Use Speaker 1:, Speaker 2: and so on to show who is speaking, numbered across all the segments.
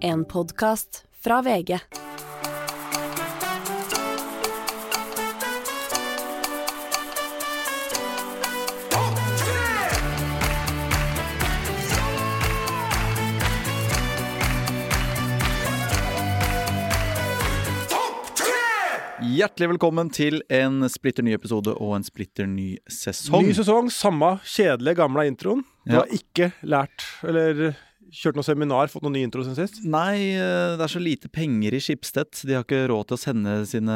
Speaker 1: En podkast fra VG.
Speaker 2: Hjertelig velkommen til en splitter ny episode og en splitter ny sesong.
Speaker 3: Ny sesong, samme kjedelige, gamle introen. Du
Speaker 2: Ja.
Speaker 3: har ikke lært eller kjørt noe seminar, fått noen ny intro siden sist.
Speaker 2: Nei, eh, det er så lite penger i Skipstedt. De har ikke råd til å sende sine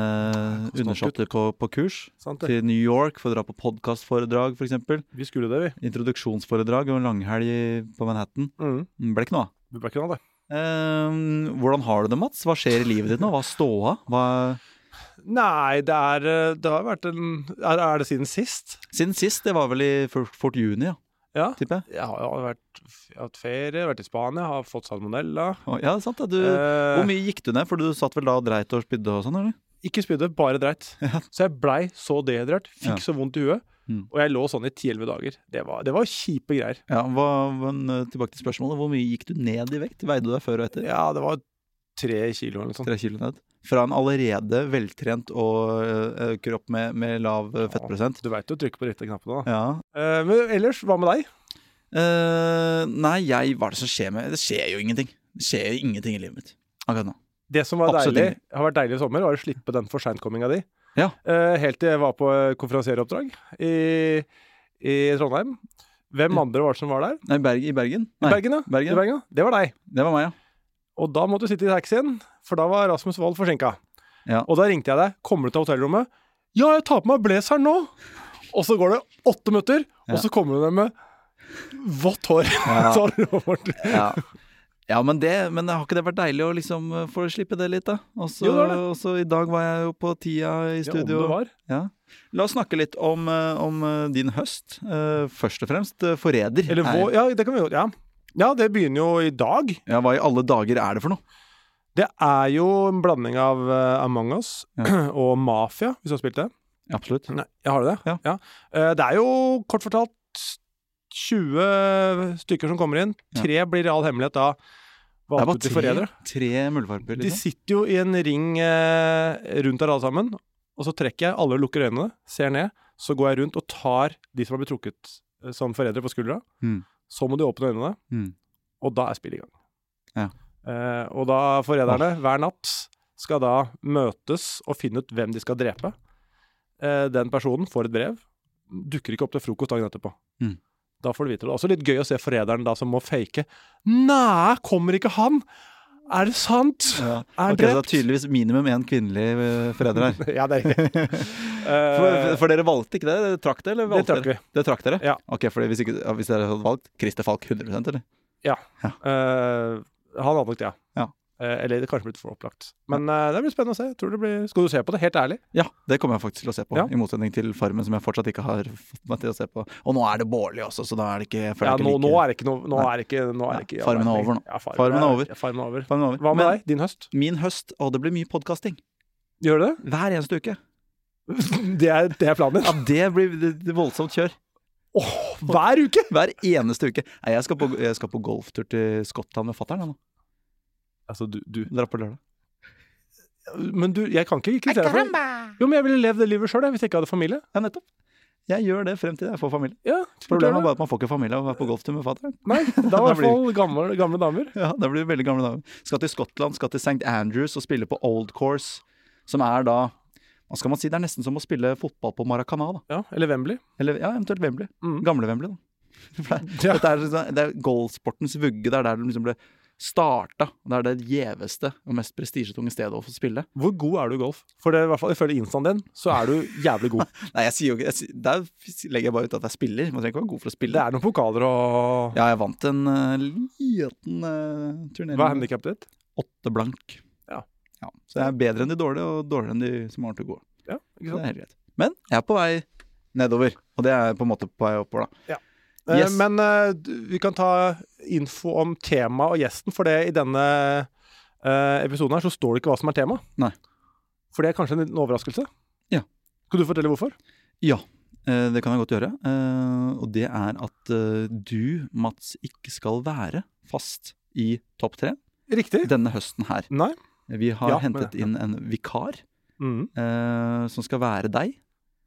Speaker 3: koster nok
Speaker 2: undersåtter på, på kurs.
Speaker 3: Sant det?
Speaker 2: Til New York for å dra på podkastforedrag, f.eks.
Speaker 3: Vi skulle det, vi.
Speaker 2: Introduksjonsforedrag og en langhelg i- på Manhattan.
Speaker 3: Mm.
Speaker 2: Mm, Ble ikke noe av.
Speaker 3: Det ble ikke noe av det.
Speaker 2: Eh, hvordan har du det, Mats? Hva skjer i livet ditt nå? Hva er ståa? Hva...
Speaker 3: Nei, det er eh, Det har vært en Er, er det siden sist?
Speaker 2: Siden sist, det var vel i fort, fort juni, ja,
Speaker 3: Ja.
Speaker 2: tipper jeg.
Speaker 3: Jeg har, jeg har vært, jeg har hatt ferie, vært i Spania, har fått salmonella.
Speaker 2: Å, Ja, sant det. Du,
Speaker 3: Eh,
Speaker 2: hvor mye gikk du ned? For du satt vel da og dreit og spydde og sånn, eller?
Speaker 3: ikke spydde, bare dreit. Så jeg blei så dehydrert,
Speaker 2: Ja.
Speaker 3: fikk så vondt i huet.
Speaker 2: Mm.
Speaker 3: Og jeg lå sånn i 10-11 dager. Det var, det var kjipe greier.
Speaker 2: Ja, hva, men eh, tilbake til spørsmålet. Hvor mye gikk du ned i vekt? Veide du deg før og etter?
Speaker 3: Ja, det var tre kilo eller noe sånt.
Speaker 2: Tre kilo ned? Fra en allerede veltrent og eh, kropp med, med lav eh, fettprosent?
Speaker 3: Du veit jo å trykke på de rette knappene, da.
Speaker 2: Ja.
Speaker 3: Eh, men ellers, hva med deg?
Speaker 2: Eh, nei, jeg Hva er det som skjer med Det skjer jo ingenting. Det skjer jo ingenting i livet mitt akkurat nå.
Speaker 3: Det som var
Speaker 2: Absolutt
Speaker 3: deilig, har vært deilig i sommer, var å slippe den for seintkomminga di.
Speaker 2: Ja.
Speaker 3: Eh, helt til jeg var på eh, konferansieroppdrag i, i Trondheim. Hvem andre var det som var der?
Speaker 2: Nei, Berg, I Bergen?
Speaker 3: I
Speaker 2: Nei,
Speaker 3: Bergen, ja.
Speaker 2: Bergen.
Speaker 3: I Bergen, ja. Det var deg.
Speaker 2: Det var meg, ja.
Speaker 3: Og da måtte du sitte i taxien, for da var Rasmus Wold forsinka.
Speaker 2: Ja.
Speaker 3: Og da ringte jeg deg. 'Kommer du til hotellrommet?' 'Ja, jeg tar på meg blazeren nå.' Og så går det åtte minutter,
Speaker 2: Ja.
Speaker 3: og så kommer du der med vått hår.
Speaker 2: Ja.
Speaker 3: Så har du vært-
Speaker 2: Ja, ja men, det, men har ikke det vært deilig å liksom eh, få slippe det litt, da? Og så-
Speaker 3: Jo, det har det.
Speaker 2: og så i dag var jeg jo på tida i
Speaker 3: Ja, om
Speaker 2: studio.
Speaker 3: det var.
Speaker 2: Ja. La oss snakke litt om, eh, om eh, din høst. Eh, Først og fremst eh, forræder.
Speaker 3: Eller
Speaker 2: er-
Speaker 3: vår, ja, det kan vi jo. Ja. ja, det begynner jo i dag.
Speaker 2: Ja, hva i alle dager er det for noe?
Speaker 3: Det er jo en blanding av eh, Among us og Mafia, hvis du har spilt det.
Speaker 2: Absolutt.
Speaker 3: Nei, jeg har det.
Speaker 2: Ja.
Speaker 3: Eh, det er jo kort fortalt 20 stykker som kommer inn.
Speaker 2: Ja.
Speaker 3: Tre blir i all hemmelighet da
Speaker 2: Det er
Speaker 3: valgt
Speaker 2: bare
Speaker 3: ut til
Speaker 2: tre,
Speaker 3: forrædere.
Speaker 2: tre muldvarper,
Speaker 3: De
Speaker 2: liksom.
Speaker 3: sitter jo i en ring eh, rundt der alle sammen, og så trekker jeg, alle lukker øynene, ser ned, så går jeg rundt og tar de som har blitt trukket eh, som forrædere på skuldra.
Speaker 2: Mm.
Speaker 3: Så må de åpne øynene,
Speaker 2: Mm.
Speaker 3: og da er spillet i gang.
Speaker 2: Ja.
Speaker 3: Eh, og da forræderne hver natt skal da møtes og finne ut hvem de skal drepe. Eh, den personen får et brev, dukker ikke opp til frokost dagen etterpå.
Speaker 2: Mm.
Speaker 3: Da får du vite det. Det er også litt gøy å se forræderen da som må fake. Nei, kommer ikke han! Er det sant?
Speaker 2: Ja.
Speaker 3: Er
Speaker 2: Ok, så det er
Speaker 3: drept.
Speaker 2: tydeligvis minimum én kvinnelig eh, forræder her.
Speaker 3: ja, det er riktig.
Speaker 2: For, for dere valgte ikke det? Dere trakk det, eller
Speaker 3: Eh, det
Speaker 2: valgte
Speaker 3: trakk
Speaker 2: dere?
Speaker 3: vi.
Speaker 2: Det trakk dere?
Speaker 3: Ja.
Speaker 2: Ok, for hvis, ikke, ja, hvis dere hadde valgt Christer Falk 100 eller?
Speaker 3: Eh, han hadde nok det, ja.
Speaker 2: Ja.
Speaker 3: Eh, eller det kanskje blitt for opplagt. Men eh, det blir spennende å se. Jeg tror det blir... Skal du se på det, helt ærlig?
Speaker 2: Ja, det kommer jeg faktisk til å se på.
Speaker 3: Ja.
Speaker 2: I motsetning til Farmen, som jeg fortsatt ikke har fått meg til å se på. Og nå er det Bårli også, så da er det ikke, jeg føler
Speaker 3: Ja,
Speaker 2: ikke
Speaker 3: nå,
Speaker 2: like-
Speaker 3: nå er det ikke noe nå er det ikke, nå er det ikke,
Speaker 2: Ja, farmen er
Speaker 3: ja,
Speaker 2: over nå.
Speaker 3: Ja, farmen,
Speaker 2: Farmen er over.
Speaker 3: Ja, farmen er over.
Speaker 2: Farmen er over.
Speaker 3: Hva med
Speaker 2: Men
Speaker 3: deg? Din høst?
Speaker 2: Min høst, og det blir mye podkasting.
Speaker 3: Gjør du det?
Speaker 2: Hver eneste uke.
Speaker 3: Det er, det er planen
Speaker 2: Ja,
Speaker 3: din?
Speaker 2: det blir det, det voldsomt kjør.
Speaker 3: Hver uke?
Speaker 2: Hver eneste uke. Nei, jeg skal på, jeg skal på golftur til Skottland med fatter'n nå.
Speaker 3: Altså, du, du.
Speaker 2: Drar på lørdag.
Speaker 3: Men du, jeg kan ikke kritisere deg for det. Jo, men jeg ville levd det livet sjøl, hvis jeg ikke hadde familie.
Speaker 2: Ja, nettopp. Jeg gjør det frem til jeg får familie.
Speaker 3: Ja,
Speaker 2: Problemet er bare at man får ikke familie av å være på golftur med fatter'n.
Speaker 3: Nei, da var i
Speaker 2: Da blir-
Speaker 3: hvert fall gamle, gamle damer.
Speaker 2: Ja, det blir veldig gamle damer. Skal til Skottland, skal til St. Andrews og spille på Old Course, som er da Hva skal man si? Det er nesten som å spille fotball på Maracana, da.
Speaker 3: Ja, Eller Wembley.
Speaker 2: Eller ja, eventuelt Wembley.
Speaker 3: Mm.
Speaker 2: Gamle Wembley, da. For det,
Speaker 3: Ja.
Speaker 2: dette er, liksom- det er golfsportens vugge. Det er der den liksom ble starta. Det er det gjeveste og mest prestisjetunge stedet å få spille.
Speaker 3: Hvor god er du i golf? For det, er i hvert fall ifølge instaen din, så er du jævlig god.
Speaker 2: Nei, jeg sier jo ikke jeg, sier- Der legger jeg bare ut at jeg spiller. Man trenger ikke være god for å
Speaker 3: Det
Speaker 2: spille.
Speaker 3: er noen pokaler og
Speaker 2: Ja, jeg vant en eh, liten eh, turnering.
Speaker 3: Hva er handikappet ditt?
Speaker 2: Åtte blank.
Speaker 3: Ja.
Speaker 2: Ja, Så jeg er bedre enn de dårlige, og dårligere enn de som har til gode.
Speaker 3: Ja, ikke
Speaker 2: Det
Speaker 3: sant?
Speaker 2: er helt greit. Men jeg er på vei nedover, og det er på en måte på vei oppover, da.
Speaker 3: Eh,
Speaker 2: Yes.
Speaker 3: Men eh, du- vi kan ta info om tema og gjesten, for det i denne eh, episoden her så står det ikke hva som er tema.
Speaker 2: Nei.
Speaker 3: For det er kanskje en liten overraskelse.
Speaker 2: Ja.
Speaker 3: Kan du fortelle hvorfor?
Speaker 2: Ja, eh, det kan jeg godt gjøre. Eh, Og det er at eh, du, Mats, ikke skal være fast i topp tre.
Speaker 3: Riktig.
Speaker 2: denne høsten her.
Speaker 3: Nei.
Speaker 2: Vi har
Speaker 3: Ja, men-
Speaker 2: hentet inn en vikar
Speaker 3: Mm.
Speaker 2: eh, som skal være deg,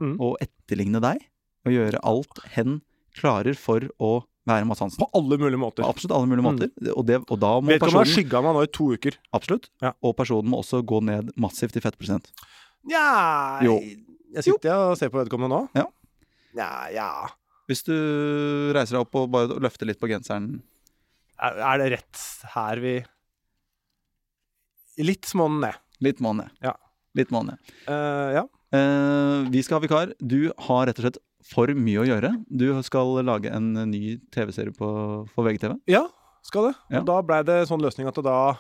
Speaker 3: Mm.
Speaker 2: og etterligne deg, og gjøre alt hen klarer for å være Mads Hansen.
Speaker 3: På alle mulige måter.
Speaker 2: På absolutt alle mulige
Speaker 3: Mm.
Speaker 2: måter. Og, det, og da må
Speaker 3: Vedkommende har
Speaker 2: personen
Speaker 3: skygga meg nå i to uker.
Speaker 2: Absolutt.
Speaker 3: Ja.
Speaker 2: Og personen må også gå ned massivt i fettprosent.
Speaker 3: Nja
Speaker 2: Jo.
Speaker 3: Jeg sitter og ser på vedkommende nå.
Speaker 2: Ja.
Speaker 3: Nja, ja.
Speaker 2: Hvis du reiser deg opp og bare løfter litt på genseren
Speaker 3: Er, er det rett her vi Litt må den ned.
Speaker 2: Litt må ned.
Speaker 3: Ja.
Speaker 2: Litt må ned.
Speaker 3: Eh, ja.
Speaker 2: Eh, vi skal ha vikar. Du har rett og slett for mye å gjøre. Du skal lage en ny TV-serie på- for VGTV.
Speaker 3: ja, skal det.
Speaker 2: Ja.
Speaker 3: Og da blei det sånn løsning at det da
Speaker 2: I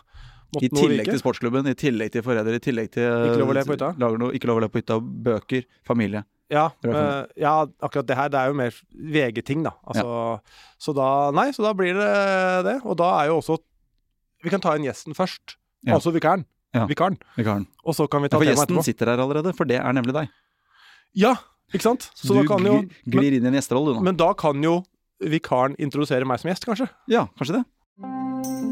Speaker 3: måtte noe
Speaker 2: tillegg
Speaker 3: vike.
Speaker 2: til sportsklubben, i tillegg til forræder, i tillegg til
Speaker 3: Ikke lov å le på hytta.
Speaker 2: Lager noe, ikke lov å le på hytta. Bøker, familie.
Speaker 3: Ja,
Speaker 2: Det er det
Speaker 3: eh, ja, akkurat det her det er jo mer VG-ting, da. Altså, Så da Nei, så da blir det det. Og da er jo også Vi kan ta inn gjesten først.
Speaker 2: Ja.
Speaker 3: Altså vikaren.
Speaker 2: Ja.
Speaker 3: Vikaren.
Speaker 2: Vikaren.
Speaker 3: Og så kan
Speaker 2: Ja,
Speaker 3: vi ta
Speaker 2: for
Speaker 3: temaet
Speaker 2: gjesten
Speaker 3: etterpå.
Speaker 2: sitter her allerede, for det er nemlig deg.
Speaker 3: Ja, ikke sant? Så,
Speaker 2: Så,
Speaker 3: da
Speaker 2: du
Speaker 3: kan jo
Speaker 2: glir, glir inn i en gjesterolle, du nå.
Speaker 3: Men da kan jo vikaren introdusere meg som gjest, kanskje.
Speaker 2: Ja, kanskje det.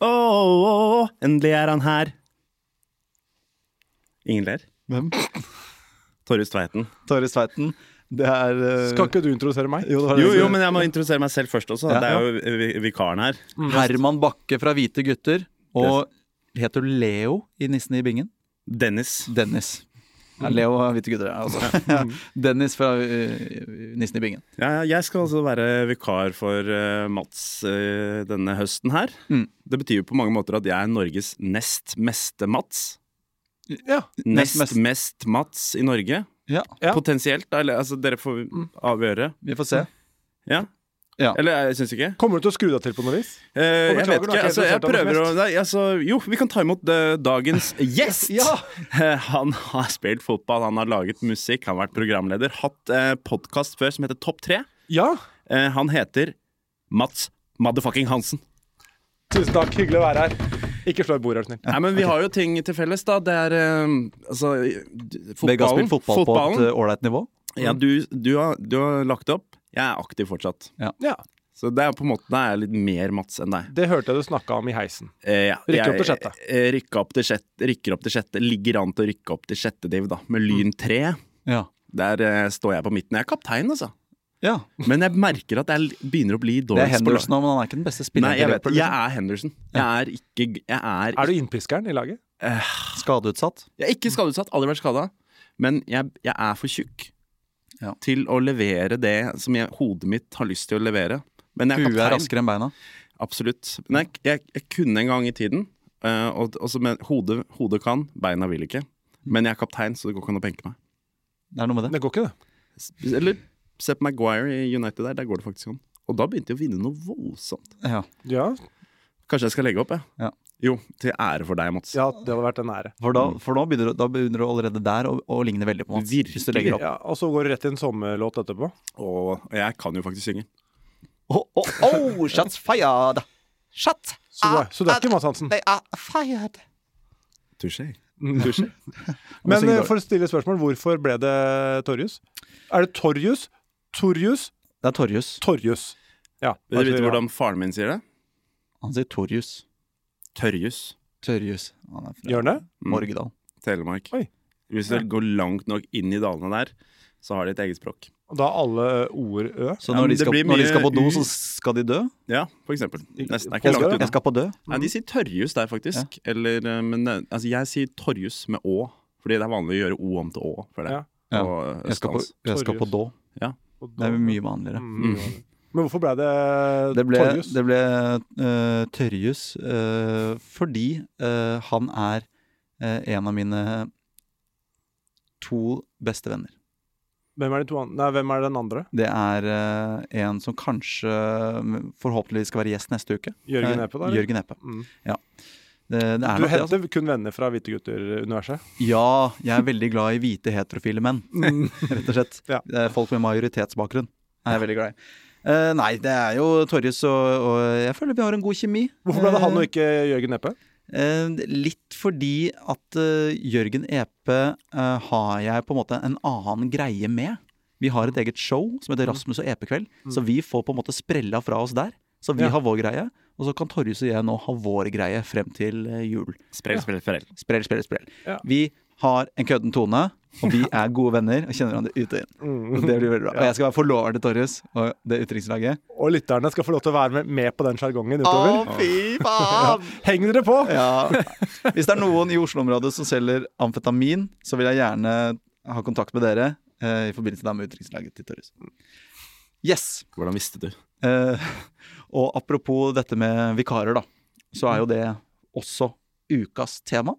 Speaker 4: Åh, åh, åh, endelig er han her. Ingen ler.
Speaker 2: Hvem?
Speaker 4: Torjus Tveiten.
Speaker 2: Torje Sveiten. Det er eh,
Speaker 3: Skal ikke du introdusere meg?
Speaker 2: Jo, det var det
Speaker 4: Jo,
Speaker 2: jeg
Speaker 4: jo,
Speaker 2: skulle-
Speaker 4: men jeg må introdusere meg selv først også.
Speaker 2: Ja,
Speaker 4: det er jo vi- vikaren her.
Speaker 2: Herman Bakke fra Hvite gutter. Og heter du Leo i Nissen i bingen?
Speaker 4: Dennis.
Speaker 2: Dennis.
Speaker 4: Mm.
Speaker 2: Ja, Leo er Hvite gutter, ja, altså. Ja. Dennis fra eh, Nissen i bingen.
Speaker 4: Ja, ja, jeg skal altså være vikar for eh, Mats eh, denne høsten her.
Speaker 2: Mm.
Speaker 4: Det betyr jo på mange måter at jeg er Norges nest meste Mats.
Speaker 3: Ja.
Speaker 2: Nest
Speaker 4: Nest
Speaker 2: mest.
Speaker 4: mest Mats i Norge,
Speaker 2: Ja,
Speaker 3: Ja.
Speaker 4: potensielt. Eller altså, dere får avgjøre.
Speaker 2: vi får se.
Speaker 4: Ja.
Speaker 2: Ja.
Speaker 4: Eller jeg syns ikke.
Speaker 3: Kommer du til å skru deg til på noe vis?
Speaker 4: Eh,
Speaker 3: Og
Speaker 4: jeg
Speaker 3: beklager,
Speaker 4: vet
Speaker 3: du
Speaker 4: ikke.
Speaker 3: har ikke
Speaker 4: Altså, jeg
Speaker 3: helt interessert
Speaker 4: prøver å
Speaker 3: oss
Speaker 4: nei, altså, Jo, vi kan ta imot eh, dagens gjest!
Speaker 3: Ja.
Speaker 4: Eh, Han har spilt fotball, han har laget musikk, han har vært programleder. Hatt eh, podkast før som heter Topp 3.
Speaker 3: Ja.
Speaker 4: Eh, han heter Mats Motherfucking Hansen.
Speaker 3: Tusen takk. Hyggelig å være her. Ikke slå i bordet, er du snill.
Speaker 4: Nei, men vi har jo ting til felles, da. Det er eh, altså d-
Speaker 2: Begge har spilt fotball
Speaker 4: fotballen.
Speaker 2: på et
Speaker 4: fotballen.
Speaker 2: eh, ålreit nivå.
Speaker 4: Ja, du, du, har, du har lagt det opp. Jeg er aktiv fortsatt.
Speaker 3: Ja.
Speaker 4: Så det er på en måte, da er jeg litt mer Mats enn deg.
Speaker 3: Det hørte jeg du snakka om i heisen.
Speaker 4: Eh, ja,
Speaker 3: Rykker opp
Speaker 4: jeg-
Speaker 3: til sjette.
Speaker 4: eh, rykker opp til sjette. Rykker opp til sjette. Ligger an til å rykke opp til sjette div, da. Med
Speaker 2: Mm.
Speaker 4: Lyn 3.
Speaker 2: Ja.
Speaker 4: Der eh, står jeg på midten. Jeg er kaptein, altså.
Speaker 2: ja.
Speaker 4: Men jeg merker at jeg l- begynner å bli
Speaker 2: Det er
Speaker 4: dårligst på
Speaker 2: Henderson
Speaker 4: lag.
Speaker 2: nå, men han er ikke den beste spilleren.
Speaker 4: Nei, jeg
Speaker 2: til
Speaker 4: vet
Speaker 2: Liverpool,
Speaker 4: Jeg er Henderson. Jeg er ikke g- Jeg er, eh,
Speaker 3: Er du innpiskeren i laget?
Speaker 2: liksom. Skadeutsatt.
Speaker 4: jeg er ikke skadeutsatt. Aldri vært skada. Men jeg, jeg er for tjukk
Speaker 2: Ja.
Speaker 4: til å levere det som jeg, hodet mitt har lyst til å levere. Men jeg er
Speaker 2: Huet er
Speaker 4: kaptein.
Speaker 2: raskere enn beina.
Speaker 4: Absolutt. Men jeg, jeg, jeg kunne en gang i tiden. eh, og, og så, men hodet, hodet kan, beina vil ikke. Men jeg er kaptein, så det går ikke an å benke meg.
Speaker 2: Det er noe med det.
Speaker 3: Det går ikke, det.
Speaker 4: S- Eller se på Maguire i United der, der går det faktisk an. Og da begynte jeg å vinne noe voldsomt.
Speaker 2: Ja.
Speaker 3: Ja,
Speaker 4: Kanskje jeg skal legge opp, jeg.
Speaker 2: Ja.
Speaker 4: Jo, til ære for deg, Mats.
Speaker 3: ja det hadde vært en ære.
Speaker 2: For, da, for nå begynner, du- da begynner du allerede der å, å ligne veldig på Mats. Hvis du
Speaker 4: Virkelig.
Speaker 2: legger opp.
Speaker 3: Ja, og så går du rett i en sommerlåt etterpå.
Speaker 4: Og og jeg kan jo faktisk synge.
Speaker 2: Oh, oh, oh, shots fired! Shot!
Speaker 3: Så du er, så du er ikke Mads Hansen.
Speaker 2: Ah,
Speaker 3: Mm,
Speaker 2: They are fired!
Speaker 4: Touché.
Speaker 3: Men
Speaker 2: synger
Speaker 3: eh,
Speaker 2: dårlig.
Speaker 3: for å stille spørsmål, hvorfor ble det Torjus? Er det Torjus, Torjus,
Speaker 2: Det er Torjus.
Speaker 3: Torjus? Ja. altså,
Speaker 4: Vil du vite hvordan faren min sier det?
Speaker 2: Han sier Torjus.
Speaker 4: Tørjus.
Speaker 2: Tørjus. Han er fra
Speaker 3: Gjør han det?
Speaker 2: Morgedal.
Speaker 4: Mm. Telemark.
Speaker 3: Oi.
Speaker 4: Hvis du går langt nok inn i dalene der, så har de et eget språk.
Speaker 3: Og da er alle ord ø?
Speaker 2: Så
Speaker 4: Ja, men
Speaker 2: når, de
Speaker 4: det
Speaker 2: skal,
Speaker 4: blir
Speaker 2: når de
Speaker 4: mye
Speaker 2: skal på do,
Speaker 4: u-
Speaker 2: så skal de dø?
Speaker 4: Ja, for eksempel. Nesten det er
Speaker 2: Jeg
Speaker 4: ikke
Speaker 2: skal,
Speaker 4: langt
Speaker 2: jeg
Speaker 4: unna.
Speaker 2: skal på dø.
Speaker 4: Nei, de sier tørjus der, faktisk. Eller, eh, men eh, altså, jeg sier torjus med å. Fordi det er vanlig å gjøre o om til å. For det.
Speaker 3: Ja.
Speaker 2: Ja.
Speaker 4: Og eh,
Speaker 2: Jeg skal på,
Speaker 4: østlands.
Speaker 2: jeg skal på do.
Speaker 3: Og
Speaker 2: Det
Speaker 3: da-
Speaker 2: er mye vanligere.
Speaker 3: Mm. Men hvorfor ble det,
Speaker 2: Det ble,
Speaker 3: Torjus?
Speaker 2: det ble eh, Tørjus eh, fordi eh, han er eh, en av mine to beste venner.
Speaker 3: Hvem er de to andre? Nei, hvem er den andre?
Speaker 2: Det er eh, en som kanskje, mm, forhåpentligvis, skal være gjest neste uke.
Speaker 3: Jørgen
Speaker 2: Eh,
Speaker 3: Eppe, da? eller?
Speaker 2: Jørgen Eppe.
Speaker 3: Mm.
Speaker 2: Det, det er nok
Speaker 3: Du
Speaker 2: det, altså.
Speaker 3: henter kun venner fra Hvite gutter-universet?
Speaker 2: Ja, jeg er veldig glad i hvite heterofile menn, rett og slett.
Speaker 3: Mm. Ja.
Speaker 2: Det er Folk med majoritetsbakgrunn er jeg veldig glad i. Eh, nei, det er jo Torjus og, og Jeg føler vi har en god kjemi.
Speaker 3: Hvorfor ble det han og ikke Jørgen Eppe?
Speaker 2: Eh, litt fordi at eh, Jørgen Epe eh, har jeg på en måte en annen greie med. Vi har et eget show som
Speaker 3: Mm.
Speaker 2: heter Rasmus og EP-kveld, så vi får på en måte sprella fra oss der. Så vi
Speaker 3: Ja.
Speaker 2: har vår greie, og så kan Torjus og jeg nå ha vår greie frem til eh, jul.
Speaker 4: Sprell, sprell, sprell.
Speaker 2: Sprell, sprell, sprell.
Speaker 3: Ja.
Speaker 2: Vi har en kødden tone, og vi er gode venner og kjenner hverandre ut og inn.
Speaker 3: Mm.
Speaker 2: Og Det blir veldig bra. Og jeg skal være forloveren til Torjus og det utenrikslaget.
Speaker 3: Og lytterne skal få lov til å være med, med på den sjargongen utover.
Speaker 2: fy faen!
Speaker 3: Heng dere på!
Speaker 2: Ja. Hvis det er noen i Oslo-området som selger amfetamin, så vil jeg gjerne ha kontakt med dere eh, i forbindelse da med utenrikslaget til Torjus. Yes!
Speaker 4: Hvordan visste du?
Speaker 2: Eh, og apropos dette med vikarer, da, så er jo det også ukas tema.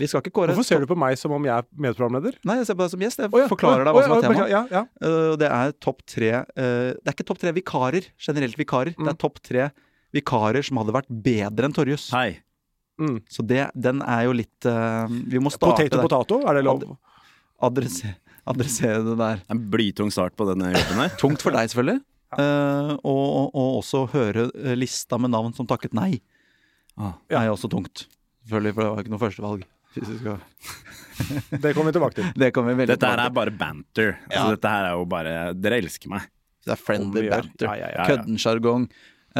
Speaker 2: Vi skal ikke kåre
Speaker 3: Hvorfor ser du på meg som om jeg er medprogramleder?
Speaker 2: Nei, jeg ser på deg som gjest. Jeg
Speaker 3: Å ja,
Speaker 2: forklarer deg
Speaker 3: å
Speaker 2: hva
Speaker 3: ja,
Speaker 2: som
Speaker 3: å
Speaker 2: er
Speaker 3: ja,
Speaker 2: tema.
Speaker 3: beklager, Ja, ja.
Speaker 2: Eh, og det er topp tre eh, Det er ikke topp tre vikarer, generelt vikarer. Det er topp tre vikarer som hadde vært bedre enn Torjus.
Speaker 4: Hei.
Speaker 3: Mm.
Speaker 2: Så det, den er jo litt eh, Vi må starte
Speaker 3: Potet og
Speaker 2: der.
Speaker 3: potato, er det lov?
Speaker 2: Adresse- Adressere det der.
Speaker 4: En blytung start på denne jobben her.
Speaker 2: Tungt for deg, selvfølgelig. Eh, og, og, og også høre eh, lista med navn som takket nei.
Speaker 4: Ah.
Speaker 3: Ja.
Speaker 2: Er jo også tungt. Selvfølgelig, for det var ikke noe førstevalg. Hvis vi skal-
Speaker 3: Det kommer vi tilbake til.
Speaker 2: Det kommer vi veldig
Speaker 4: Dette her
Speaker 2: tilbake
Speaker 4: er bare banter. Altså, Dette her er jo bare Dere elsker meg.
Speaker 2: til. Det er friendly
Speaker 3: Om vi gjør.
Speaker 2: banter.
Speaker 3: Ja, ja, ja,
Speaker 4: ja.
Speaker 2: Kødden sjargong.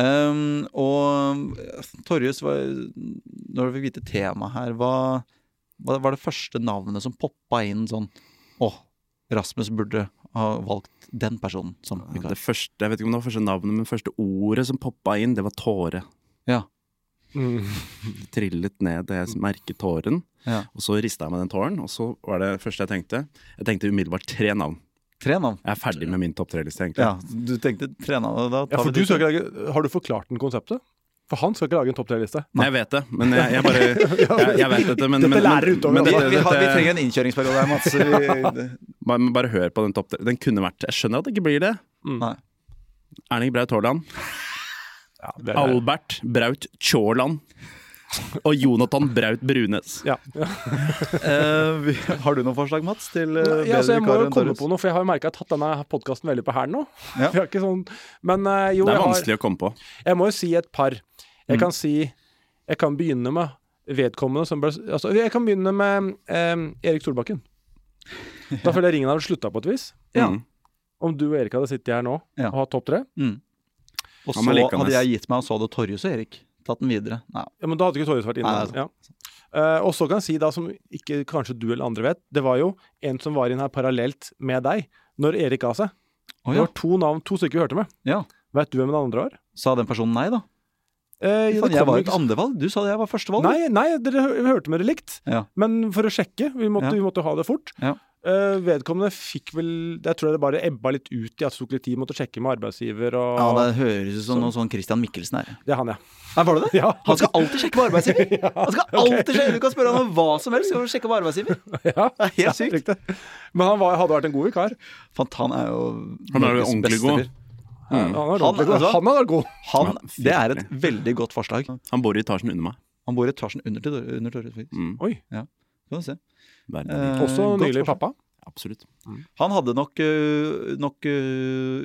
Speaker 2: Um, og eh, Torjus, var, når du fikk vite temaet her, hva, hva var det første navnet som poppa inn sånn Å, Rasmus burde ha valgt den personen som vikar.
Speaker 4: Det første, jeg vet ikke om det var første navnet, men første ordet som poppa inn, det var tåre.
Speaker 2: Ja.
Speaker 3: Mm.
Speaker 4: Det trillet ned det jeg merket tåren,
Speaker 2: Ja.
Speaker 4: og så rista jeg meg den tåren. Og så var det første jeg tenkte. Jeg tenkte umiddelbart tre navn.
Speaker 2: Tre navn.
Speaker 4: Jeg er ferdig med min topp tre-liste, egentlig.
Speaker 2: Ja, du tenkte tre navn. Da
Speaker 3: Ja,
Speaker 2: tar
Speaker 3: for
Speaker 2: vi
Speaker 3: du
Speaker 2: de
Speaker 3: skal
Speaker 2: tre.
Speaker 3: ikke lage, har du forklart den konseptet? For han skal ikke lage en topp tre-liste.
Speaker 4: Nei, jeg vet det, men jeg, jeg bare jeg, jeg vet dette, men,
Speaker 3: Dette
Speaker 4: men,
Speaker 3: lærer utover,
Speaker 4: men
Speaker 2: vi,
Speaker 4: dette,
Speaker 2: altså. vi, har, vi
Speaker 4: dette-
Speaker 2: trenger en innkjøringsperiode her, Mats. Vi,
Speaker 4: bare, men bare hør på den topp tre. Den kunne vært Jeg skjønner at det ikke blir det.
Speaker 2: Mm. nei.
Speaker 4: Erling Braut Haaland.
Speaker 3: Ja, det er-
Speaker 4: Albert Braut Tjåland. Og Jonathan Braut Brunes.
Speaker 3: ja. Ja.
Speaker 2: Eh, vi, har du noen forslag, Mats? Til eh, bedre
Speaker 3: Ja, altså, jeg må
Speaker 2: vikarer
Speaker 3: jo
Speaker 2: enn
Speaker 3: komme
Speaker 2: Torjus?
Speaker 3: på noe, for jeg har jo merka at jeg har tatt denne podkasten veldig på hælen nå.
Speaker 2: Ja.
Speaker 3: Vi har ikke sånn, men eh, jo,
Speaker 4: Det er
Speaker 3: jeg, har,
Speaker 4: vanskelig å komme på.
Speaker 3: jeg må jo si et par.
Speaker 2: Mm.
Speaker 3: Jeg kan si Jeg kan begynne med vedkommende som ble altså, Jeg kan begynne med eh, Erik Solbakken. Da føler jeg ringen hadde slutta på et vis.
Speaker 2: Ja.
Speaker 4: Mm.
Speaker 3: Om du og Erik hadde sittet her nå
Speaker 2: Ja.
Speaker 3: og hatt topp tre,
Speaker 2: Og
Speaker 4: Han er
Speaker 2: så
Speaker 4: likende.
Speaker 2: hadde jeg gitt meg og så det Torjus og Erik. Tatt den videre. Nei.
Speaker 3: ja, men da hadde ikke Torjus vært inne.
Speaker 2: Nei, altså. det
Speaker 3: ja. Eh, og så kan jeg si, da som ikke kanskje du eller andre vet, det var jo en som var inn her parallelt med deg når Erik ga seg.
Speaker 2: Å
Speaker 3: Det
Speaker 2: ja.
Speaker 3: var to navn, to stykker vi hørte med.
Speaker 2: ja.
Speaker 3: Vet du hvem den andre var?
Speaker 2: Sa den personen nei, da?
Speaker 3: Eh,
Speaker 2: Faen,
Speaker 3: det
Speaker 2: jeg
Speaker 3: kommer
Speaker 2: var
Speaker 3: ikke
Speaker 2: et andrevalg. Du sa jeg var førstevalg.
Speaker 3: Nei, nei, dere hø- hørte med det likt.
Speaker 2: Ja.
Speaker 3: Men for å sjekke, vi måtte,
Speaker 2: Ja.
Speaker 3: vi måtte ha det fort.
Speaker 2: Ja.
Speaker 3: Eh, vedkommende fikk vel Jeg tror det bare ebba litt ut i at det tok litt tid, måtte sjekke med arbeidsgiver og
Speaker 2: Ja, det høres ut som noe sånn Christian Mikkelsen her.
Speaker 3: Det er han, ja.
Speaker 2: Nei, var det det?
Speaker 3: Ja.
Speaker 2: Han skal alltid sjekke på arbeidsgiver! Han skal alltid sjekke, Du kan spørre han om hva som helst, skal han sjekke på arbeidsgiver.
Speaker 3: ja.
Speaker 2: Det er helt
Speaker 3: Ja,
Speaker 2: sykt.
Speaker 3: riktig. Men han var, hadde vært en god vikar.
Speaker 2: Fant, han er jo
Speaker 4: Han er jo
Speaker 2: Norges
Speaker 4: ordentlig
Speaker 2: beste
Speaker 4: god. Mm.
Speaker 2: fyr.
Speaker 3: Han, hadde vært
Speaker 2: Han-
Speaker 3: ordentlig god.
Speaker 2: altså-
Speaker 3: han hadde vært god.
Speaker 2: Han,
Speaker 4: Ja,
Speaker 2: det er et veldig godt forslag.
Speaker 4: Han bor i etasjen under meg.
Speaker 2: Han bor i etasjen under til- under Torjus, faktisk.
Speaker 4: Mm.
Speaker 3: Oi.
Speaker 2: Kan du se.
Speaker 4: Verden er rik.
Speaker 2: Eh,
Speaker 3: Også
Speaker 2: godt
Speaker 3: nylig
Speaker 2: forslag.
Speaker 3: pappa.
Speaker 4: Absolutt.
Speaker 2: Han hadde nok, øh, nok øh,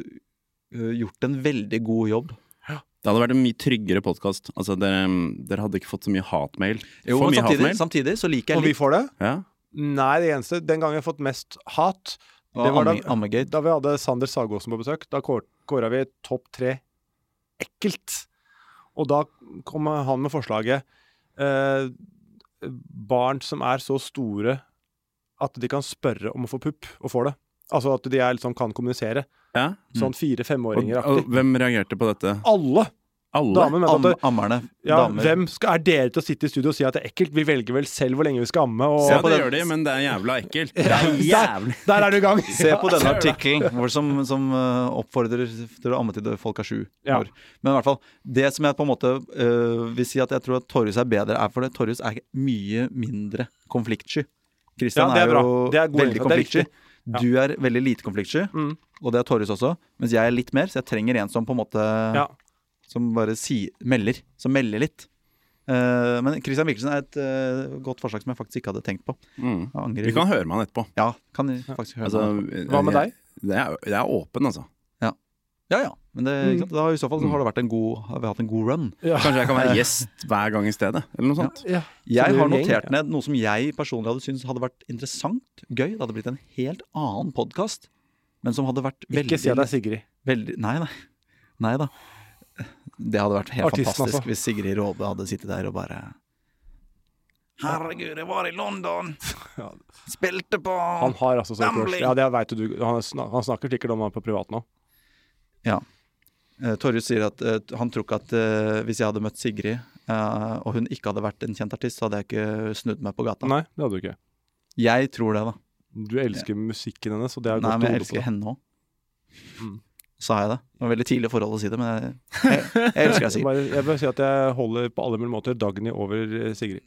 Speaker 2: øh, gjort en veldig god jobb.
Speaker 4: Det hadde vært en mye tryggere podkast. Altså, dere, dere hadde ikke fått så mye hatmail.
Speaker 2: Jo,
Speaker 4: For
Speaker 2: men
Speaker 4: mye
Speaker 2: samtidig,
Speaker 4: hatmail.
Speaker 2: samtidig så liker
Speaker 3: Og
Speaker 2: jeg
Speaker 3: vi
Speaker 2: litt
Speaker 3: får det?
Speaker 4: Ja.
Speaker 3: Nei, det eneste Den gangen jeg har fått mest hat, det var da-
Speaker 2: Amme- Ammegate.
Speaker 3: da vi hadde Sander Sagåsen på besøk, da kåra vi topp tre ekkelt. Og da kom han med forslaget eh, Barn som er så store at de kan spørre om å få pupp, og får det. Altså at de er liksom kan kommunisere.
Speaker 4: ja.
Speaker 3: Sånn
Speaker 4: Og,
Speaker 3: fire-femåringer-aktig.
Speaker 4: og hvem reagerte på dette?
Speaker 3: Alle
Speaker 4: Alle?
Speaker 3: damer mente
Speaker 2: Am,
Speaker 3: at
Speaker 2: ammerne.
Speaker 3: ja,
Speaker 2: damer.
Speaker 3: hvem skal, er dere til å sitte i studio og si at det er ekkelt? Vi velger vel selv hvor lenge vi skal amme. Og
Speaker 4: Ja, det gjør de, men det er jævla ekkelt. Det er jævlig
Speaker 3: Der er du i gang!
Speaker 2: Se på denne artikkelen hvor som, som øh, oppfordrer til å amme til folk er sju
Speaker 3: Ja.
Speaker 2: år. Men i hvert fall, det som jeg på en måte øh, vil si at jeg tror at Torjus er bedre, er for det. Torjus er mye mindre konfliktsky. Christian
Speaker 3: Ja, det er
Speaker 2: er,
Speaker 3: bra.
Speaker 2: jo
Speaker 3: Det er god
Speaker 2: veldig
Speaker 3: innsikt. Det er
Speaker 2: konfliktsky.
Speaker 3: riktig. Ja.
Speaker 2: Du er veldig lite konfliktsky,
Speaker 3: Mm.
Speaker 2: og det er Torjus også. Mens jeg er litt mer, så jeg trenger en som på en måte
Speaker 3: Ja.
Speaker 2: Som bare si, melder. Som melder litt. Eh, men Christian Mikkelsen er et eh, godt forslag som jeg faktisk ikke hadde tenkt på.
Speaker 4: Mm.
Speaker 2: Jeg angrer.
Speaker 4: Vi kan høre med han etterpå.
Speaker 2: Ja, kan jeg faktisk høre
Speaker 4: Altså,
Speaker 2: meg.
Speaker 3: Hva med deg?
Speaker 4: Det er, det er åpen, altså.
Speaker 2: Ja, ja. Men det,
Speaker 3: mm.
Speaker 2: ikke sant? Da, i så fall så har, det vært en god, har vi hatt en god run.
Speaker 4: Kanskje jeg kan være gjest hver gang i stedet, eller noe sånt.
Speaker 3: Ja. Så
Speaker 2: Jeg
Speaker 3: det er
Speaker 2: har
Speaker 3: en gjeng,
Speaker 2: notert ned noe som jeg personlig hadde syntes hadde vært interessant, gøy. Det hadde blitt en helt annen podkast. men som hadde vært veldig
Speaker 3: Ikke si at det er Sigrid.
Speaker 2: veldig, Nei, nei. Nei da. Det hadde vært helt
Speaker 3: Artisten,
Speaker 2: fantastisk
Speaker 3: altså.
Speaker 2: hvis Sigrid Råde hadde sittet der og bare Herregud, jeg var i London!
Speaker 3: Ja.
Speaker 2: Spilte på
Speaker 3: Han har altså så
Speaker 2: Gambling!
Speaker 3: Ja, det vet du. Han, snak, han snakker sikkert om han på privat nå.
Speaker 2: Eh, Torjus sier at eh, han tror ikke at eh, hvis jeg hadde møtt Sigrid, eh, og hun ikke hadde vært en kjent artist, så hadde jeg ikke snudd meg på gata.
Speaker 3: Nei, det hadde du ikke.
Speaker 2: Jeg tror det, da.
Speaker 3: Du elsker musikken hennes, og det er
Speaker 2: Nei,
Speaker 3: godt
Speaker 2: men jeg
Speaker 3: å holde på
Speaker 2: elsker
Speaker 3: det.
Speaker 2: henne òg.
Speaker 3: Mm.
Speaker 2: Sa jeg det? Det var veldig tidlig forhold å si det, men jeg, jeg, jeg elsker deg,
Speaker 3: Jeg
Speaker 2: Sigrid.
Speaker 3: bare, jeg bare sier at jeg holder på alle mulige måter Dagny over eh, Sigrid.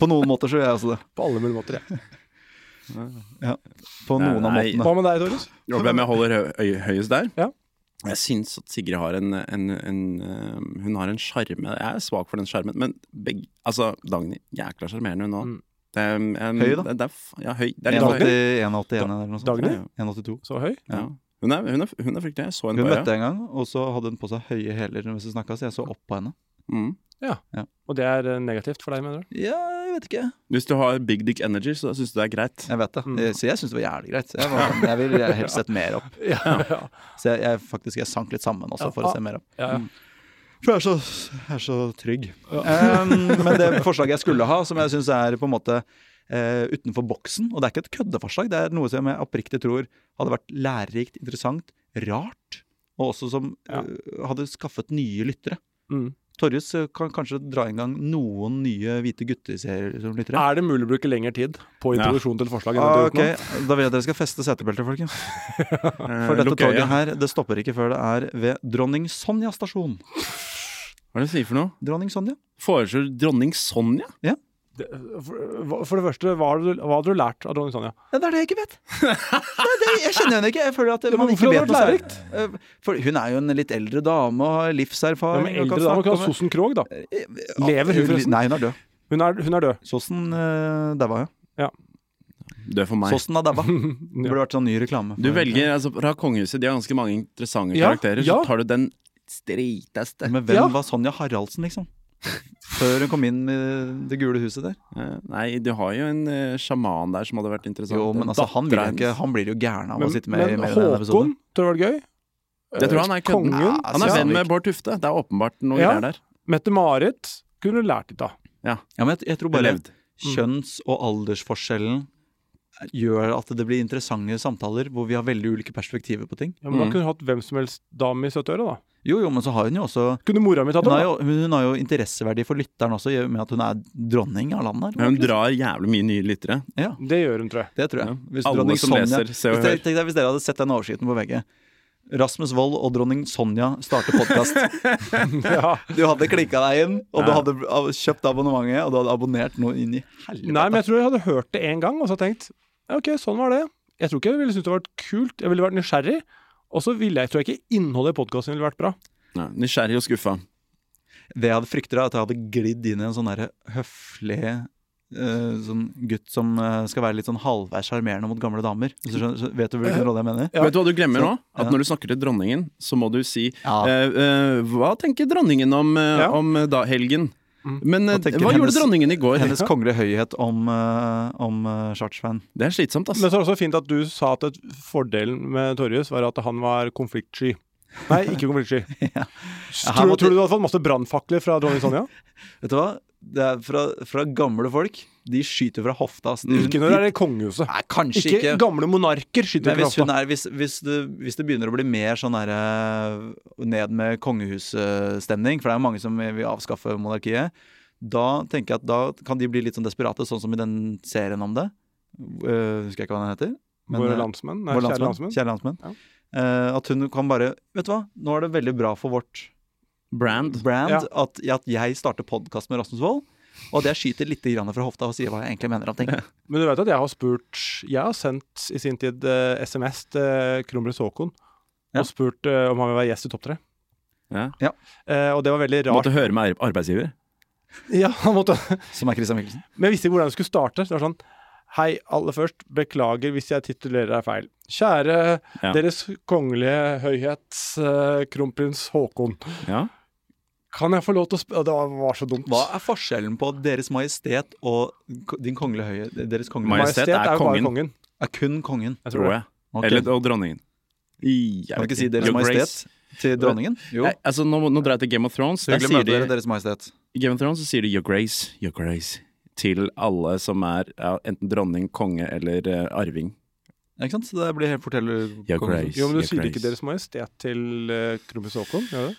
Speaker 2: På noen måter så gjør jeg også det.
Speaker 3: På alle mulige måter, jeg.
Speaker 2: På
Speaker 4: Nei,
Speaker 2: noen av
Speaker 4: nei.
Speaker 2: måtene.
Speaker 3: Hva med deg, Torjus?
Speaker 4: Og hvem jeg holder hø høy- høyest der?
Speaker 3: Ja.
Speaker 4: Jeg syns at Sigrid har en, en, en øhm, Hun har en sjarme. Jeg er svak for den sjarmen, men begge, altså, Dagny Jækla sjarmerende hun òg.
Speaker 3: Mm.
Speaker 2: Høy, da?
Speaker 4: Det, det er, f- ja, høy. Det er litt høy.
Speaker 2: 1,81 eller noe sånt.
Speaker 3: Dagny?
Speaker 4: Ja, ja.
Speaker 2: 1,82.
Speaker 3: Så høy?
Speaker 4: Ja. Hun, er, hun, er, hun er fryktelig. Jeg så henne
Speaker 2: Hun
Speaker 4: på
Speaker 2: møtte
Speaker 4: øya.
Speaker 2: jeg en gang, og så hadde hun på seg høye hæler mens hun snakka, så jeg så opp på henne.
Speaker 4: Mm.
Speaker 3: Og det er eh, negativt for deg, mener du?
Speaker 2: Ja, jeg vet ikke.
Speaker 4: Hvis du har big dick energy, så syns du det er greit.
Speaker 2: Jeg vet det.
Speaker 3: Mm.
Speaker 2: Eh, Så jeg syns det var jævlig greit. Jeg, var, sånn, jeg ville helst sett mer opp.
Speaker 3: Ja. ja.
Speaker 2: Så jeg, jeg faktisk jeg sank litt sammen også for å se mer opp.
Speaker 3: ja, Ah.
Speaker 2: For jeg er så, jeg er så trygg. Em, men det forslaget jeg skulle ha, som jeg syns er på en måte eh, utenfor boksen Og det er ikke et køddeforslag, det er noe som jeg oppriktig tror hadde vært lærerikt, interessant, rart, og også som
Speaker 3: Ja.
Speaker 2: eh, hadde skaffet nye lyttere.
Speaker 3: Mm.
Speaker 2: Torjus eh, kan kanskje dra i gang noen nye hvite gutter-serier som lyttere.
Speaker 3: Er det mulig å bruke lengre tid på
Speaker 4: Ja.
Speaker 3: introduksjon til forslag? enn
Speaker 2: Ah,
Speaker 3: det du
Speaker 2: ok,
Speaker 3: har gjort nå?
Speaker 2: Da vil jeg at dere skal feste setebeltet, folkens. Eh, For
Speaker 4: For
Speaker 2: dette toget her det stopper ikke før det er ved Dronning Sonja stasjon.
Speaker 4: Hva er det du sier for noe?
Speaker 2: Dronning Sonja?
Speaker 4: Foreslår dronning Sonja?
Speaker 3: Det- eh, For, for det første, hva hadde, du, hva hadde du lært av dronning Sonja?
Speaker 2: Ja, Det er det jeg ikke vet! Nei, det, jeg kjenner henne ikke. Jeg føler at
Speaker 3: men
Speaker 2: man ikke
Speaker 3: hvorfor
Speaker 2: vet
Speaker 3: hadde det
Speaker 2: noe
Speaker 3: vært
Speaker 2: særlig. Eh, For hun er jo en litt eldre dame og har
Speaker 3: Ja,
Speaker 2: livserfaring.
Speaker 3: men
Speaker 2: og
Speaker 3: eldre
Speaker 2: kan
Speaker 3: dame kan
Speaker 2: snakke
Speaker 3: ha
Speaker 2: om-
Speaker 3: Sossen Krog, da.
Speaker 2: Eh,
Speaker 3: Lever hun
Speaker 2: eh,
Speaker 3: forresten?
Speaker 2: Nei, hun er død.
Speaker 3: Hun er, hun er død.
Speaker 2: Sossen uh, daua, ja.
Speaker 4: Død for meg.
Speaker 2: Sossen har daua. Det
Speaker 3: Ja.
Speaker 2: burde vært sånn ny reklame.
Speaker 4: Du velger altså fra kongehuset, de har ganske mange interessante
Speaker 3: Ja,
Speaker 4: karakterer,
Speaker 3: ja.
Speaker 4: så tar du den streiteste.
Speaker 2: Men hvem
Speaker 3: Ja.
Speaker 2: var Sonja Haraldsen, liksom? Før hun kom inn i det gule huset der.
Speaker 4: Eh, Nei, du har jo en eh, sjaman der som hadde vært interessant.
Speaker 2: Jo, men altså, han, vil jo
Speaker 4: Datteren
Speaker 2: ikke, han blir jo gæren av
Speaker 3: Men,
Speaker 2: å sitte med i
Speaker 3: men
Speaker 2: mer enn en episode.
Speaker 3: Håkon, tror du det var gøy? Eh,
Speaker 4: Jeg tror han er kødden.
Speaker 3: Kongen?
Speaker 2: Ja, altså,
Speaker 4: hans. Han er
Speaker 2: Ja.
Speaker 4: venn med Bård Tufte. Det er åpenbart noe
Speaker 3: Ja.
Speaker 4: greier der.
Speaker 3: Mette-Marit kunne du lært litt av.
Speaker 2: Ja, men jeg, jeg tror
Speaker 4: Bare
Speaker 2: bare
Speaker 4: levd.
Speaker 2: kjønns- og aldersforskjellen eh, gjør at det blir interessante samtaler hvor vi har veldig ulike perspektiver på ting.
Speaker 3: Ja, men Da
Speaker 4: Mm.
Speaker 3: kunne du hatt hvem som helst dame i 70-åra, da.
Speaker 2: Jo, jo, men så har hun jo også
Speaker 3: Kunne mora mi tatt
Speaker 2: Hun har
Speaker 3: henne?
Speaker 2: jo, hun har jo interesseverdi for lytteren også, i og med at hun er dronning av landet.
Speaker 4: Men hun drar jævlig mye nye lyttere.
Speaker 2: Ja,
Speaker 3: da? Det gjør hun, tror jeg.
Speaker 2: det tror jeg.
Speaker 4: Ja.
Speaker 2: Hvis
Speaker 4: Alle
Speaker 2: dronning
Speaker 4: som
Speaker 2: Sonja-
Speaker 4: leser Se og
Speaker 2: Hvis dere-
Speaker 4: Hør.
Speaker 2: tenk deg hvis dere hadde sett den overskriften på VG. Rasmus Wold og dronning Sonja starter podkast.
Speaker 3: Ja.
Speaker 2: Du hadde klikka deg inn, og du
Speaker 4: Ja.
Speaker 2: hadde ab- kjøpt abonnementet, og du hadde abonnert noe inn i helvete.
Speaker 3: Nei, men jeg tror jeg hadde hørt det én gang og så tenkt ja, OK, sånn var det. Jeg tror ikke jeg ville syntes det var kult, jeg ville vært nysgjerrig. Og så ville jeg, tror jeg ikke innholdet i podkasten ville vært bra.
Speaker 4: Nei, nysgjerrig og skuffa.
Speaker 2: Det jeg hadde frykter, er at jeg hadde glidd inn i en sånn derre høflig eh, sånn gutt som eh, skal være litt sånn halvveis sjarmerende mot gamle damer. Hvis du skjønner, så vet du hvilken rolle jeg mener?
Speaker 3: Ja.
Speaker 4: Vet du hva du glemmer nå?
Speaker 2: Så-
Speaker 4: At
Speaker 2: ja.
Speaker 4: når du snakker til dronningen, så må du si
Speaker 2: Ja.
Speaker 4: eh, eh, Hva tenker dronningen om, eh,
Speaker 3: Ja.
Speaker 4: om eh, da, helgen?
Speaker 3: Mm.
Speaker 4: Men eh,
Speaker 2: Hva tenker
Speaker 4: hva
Speaker 2: hennes-
Speaker 4: gjorde dronningen i går?
Speaker 2: Hennes kongelige høyhet om, uh, om eh, Charts-fan.
Speaker 4: Det er slitsomt,
Speaker 3: Men
Speaker 4: ass.
Speaker 3: så er det også fint at du sa at et- fordelen med Torjus var at han var konfliktsky. Nei, ikke konfliktsky.
Speaker 2: Ja.
Speaker 3: Så
Speaker 2: Ja, her
Speaker 3: Tror,
Speaker 2: måtte-
Speaker 3: tror du du hadde fått masse brannfakler fra dronning Sonja?
Speaker 2: Vet du hva? Det er fra, fra gamle folk. De skyter fra hofta. ass. de,
Speaker 3: Ikke når det er i kongehuset.
Speaker 2: Nei, kanskje
Speaker 3: Ikke,
Speaker 2: ikke.
Speaker 3: gamle monarker skyter
Speaker 2: Men
Speaker 3: fra
Speaker 2: hvis, hun
Speaker 3: hofta.
Speaker 2: er, hvis, hvis, det, hvis det begynner å bli mer sånn der, eh, ned med kongehusstemning, for det er jo mange som vil avskaffe monarkiet, da tenker jeg at da kan de bli litt sånn desperate, sånn som i den serien om det. Eh, husker jeg ikke hva den heter. men,
Speaker 3: Våre
Speaker 2: eh,
Speaker 3: landsmenn. Nei,
Speaker 2: Vår
Speaker 3: kjære
Speaker 2: landsmenn.
Speaker 3: landsmenn.
Speaker 2: Kjære landsmenn. Eh, at hun kan bare Vet du hva, nå er det veldig bra for vårt
Speaker 4: Brand.
Speaker 2: brand
Speaker 3: Ja.
Speaker 2: at, at jeg starter podkast med Rasmus Wold, og at jeg skyter litt grann fra hofta og sier hva jeg egentlig mener om ting.
Speaker 3: Men du vet at jeg har spurt Jeg har sendt i sin tid eh, SMS til Kronprins Haakon
Speaker 2: Ja.
Speaker 3: og spurt eh, om han vil være gjest i Topp 3.
Speaker 4: Ja.
Speaker 3: Eh, og det var veldig rart.
Speaker 4: Måtte høre med ar- arbeidsgiver.
Speaker 3: Ja, han måtte.
Speaker 2: Som er Christian Mikkelsen.
Speaker 3: Men jeg visste ikke hvordan jeg skulle starte. Så det var sånn Hei, aller først, beklager hvis jeg titulerer deg feil. Kjære
Speaker 4: Ja.
Speaker 3: Deres kongelige høyhet, eh, kronprins Haakon.
Speaker 4: Ja.
Speaker 3: Kan jeg få lov til å spørre Det var- var så dumt.
Speaker 2: Hva er forskjellen på Deres Majestet og ko- Din Kongelige Høye Deres Kongelige
Speaker 4: Majestet er
Speaker 3: jo bare
Speaker 4: kongen.
Speaker 3: kongen.
Speaker 2: Er kun kongen.
Speaker 3: Jeg tror
Speaker 4: tror
Speaker 3: det.
Speaker 4: jeg.
Speaker 2: Ok.
Speaker 4: Eller og dronningen. I- jeg
Speaker 2: Kan
Speaker 4: vet
Speaker 2: ikke si Deres
Speaker 4: Your Grace.
Speaker 2: Majestet til dronningen? Jo.
Speaker 4: Nei, altså, nå, nå drar jeg til Game of Thrones. Der
Speaker 2: Hyggelig å møte
Speaker 4: sier de,
Speaker 2: dere, Deres Majestet.
Speaker 4: I Game of Thrones så sier de 'Your Grace', 'Your Grace' til alle som er ja, enten dronning, konge eller eh, arving.
Speaker 2: Ikke sant? Så det blir helt fortell
Speaker 4: Your
Speaker 2: kongen.
Speaker 4: Grace.
Speaker 3: Jo, men du
Speaker 4: Your
Speaker 3: sier ikke Deres
Speaker 4: Grace.
Speaker 3: Majestet til eh, kronprins Haakon? Gjør du det?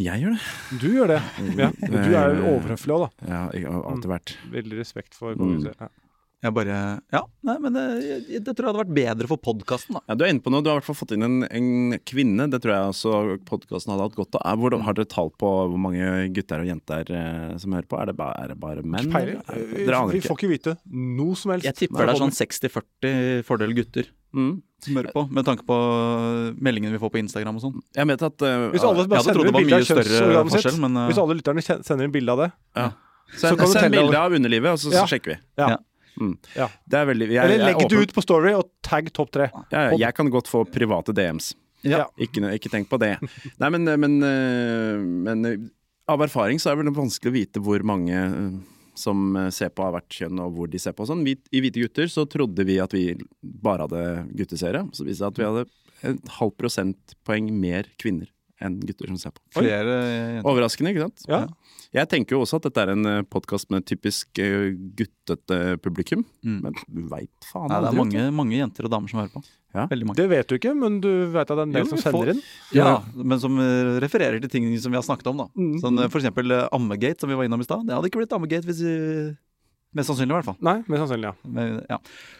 Speaker 4: Jeg gjør det.
Speaker 3: Du gjør det. Ja. Du er jo overhøflig òg, da.
Speaker 4: Ja, jeg har alltid vært
Speaker 3: Veldig respekt for kongehuset. Ja.
Speaker 2: sånn. Jeg bare Ja, nei, men det, jeg, det tror jeg hadde vært bedre for podkasten, da.
Speaker 4: ja, Du er inne på noe. Du har i hvert fall fått inn en, en kvinne. Det tror jeg også podkasten hadde hatt godt av. Er- Hvor, har dere tall på hvor mange gutter og jenter eh, som hører på? Er det bare, er det bare menn?
Speaker 3: Peiler.
Speaker 4: eller? Er det-
Speaker 3: Vi,
Speaker 4: Dere aner
Speaker 3: vi
Speaker 4: ikke.
Speaker 3: får ikke vite noe som helst.
Speaker 2: Jeg tipper det er sånn 60-40 fordel gutter
Speaker 4: Mm.
Speaker 2: som hører på, med tanke på eh, meldingene vi får på Instagram og sånn.
Speaker 4: Jeg vet at eh,
Speaker 3: Hvis alle bare
Speaker 2: Jeg hadde
Speaker 3: sender
Speaker 2: trodd det
Speaker 3: et
Speaker 2: var
Speaker 3: bilde av
Speaker 2: mye større
Speaker 3: kjønnsorganet sitt,
Speaker 2: forskjell, men
Speaker 3: hvis
Speaker 2: uh,
Speaker 3: alle lytterne kjen- sender en bilde av det så
Speaker 4: Send,
Speaker 3: kan du
Speaker 4: send
Speaker 3: telle
Speaker 4: bilde
Speaker 3: over.
Speaker 4: av underlivet, og så, så
Speaker 3: Ja.
Speaker 4: sjekker vi.
Speaker 3: Ja.
Speaker 2: Ja.
Speaker 4: Mm.
Speaker 3: Ja.
Speaker 4: Det er veldig jeg,
Speaker 3: Eller
Speaker 4: jeg er
Speaker 3: legg det
Speaker 4: åpen-
Speaker 3: ut på Story og tagg topp tre.
Speaker 4: Ja, ja, jeg kan godt få private DMs.
Speaker 3: Ja.
Speaker 4: Ikke, noe- ikke tenk på det. Nei, men, men, øh, men øh, av erfaring så er det vel vanskelig å vite hvor mange øh, som øh, ser på av hvert kjønn, og hvor de ser på. og Sånn. Vi, I Hvite gutter så trodde vi at vi bare hadde gutteseere. Så viste det seg at vi hadde et halvt prosentpoeng mer kvinner enn gutter som ser på.
Speaker 2: flere jenter.
Speaker 4: Overraskende, ikke sant?
Speaker 3: Ja.
Speaker 4: Jeg tenker jo også at dette er en podkast med typisk øh, guttete publikum,
Speaker 2: Mm.
Speaker 4: men du veit faen
Speaker 2: Nei, det er
Speaker 4: aldri, vet du.
Speaker 2: mange, mange jenter og damer som hører på.
Speaker 4: Ja.
Speaker 2: Veldig mange.
Speaker 3: Det vet du ikke, men du vet at det er en
Speaker 2: Jo,
Speaker 3: del som
Speaker 2: vi får-
Speaker 3: sender inn.
Speaker 2: Ja, men som eh, refererer til ting som vi har snakket om, da.
Speaker 3: Mm.
Speaker 2: Sånn, eh, for eksempel eh, Ammegate, som vi var innom i stad. Det hadde ikke blitt Ammegate hvis eh, Mest sannsynlig, i hvert fall.
Speaker 3: Nei, mest sannsynlig, ja.
Speaker 2: Men, ja.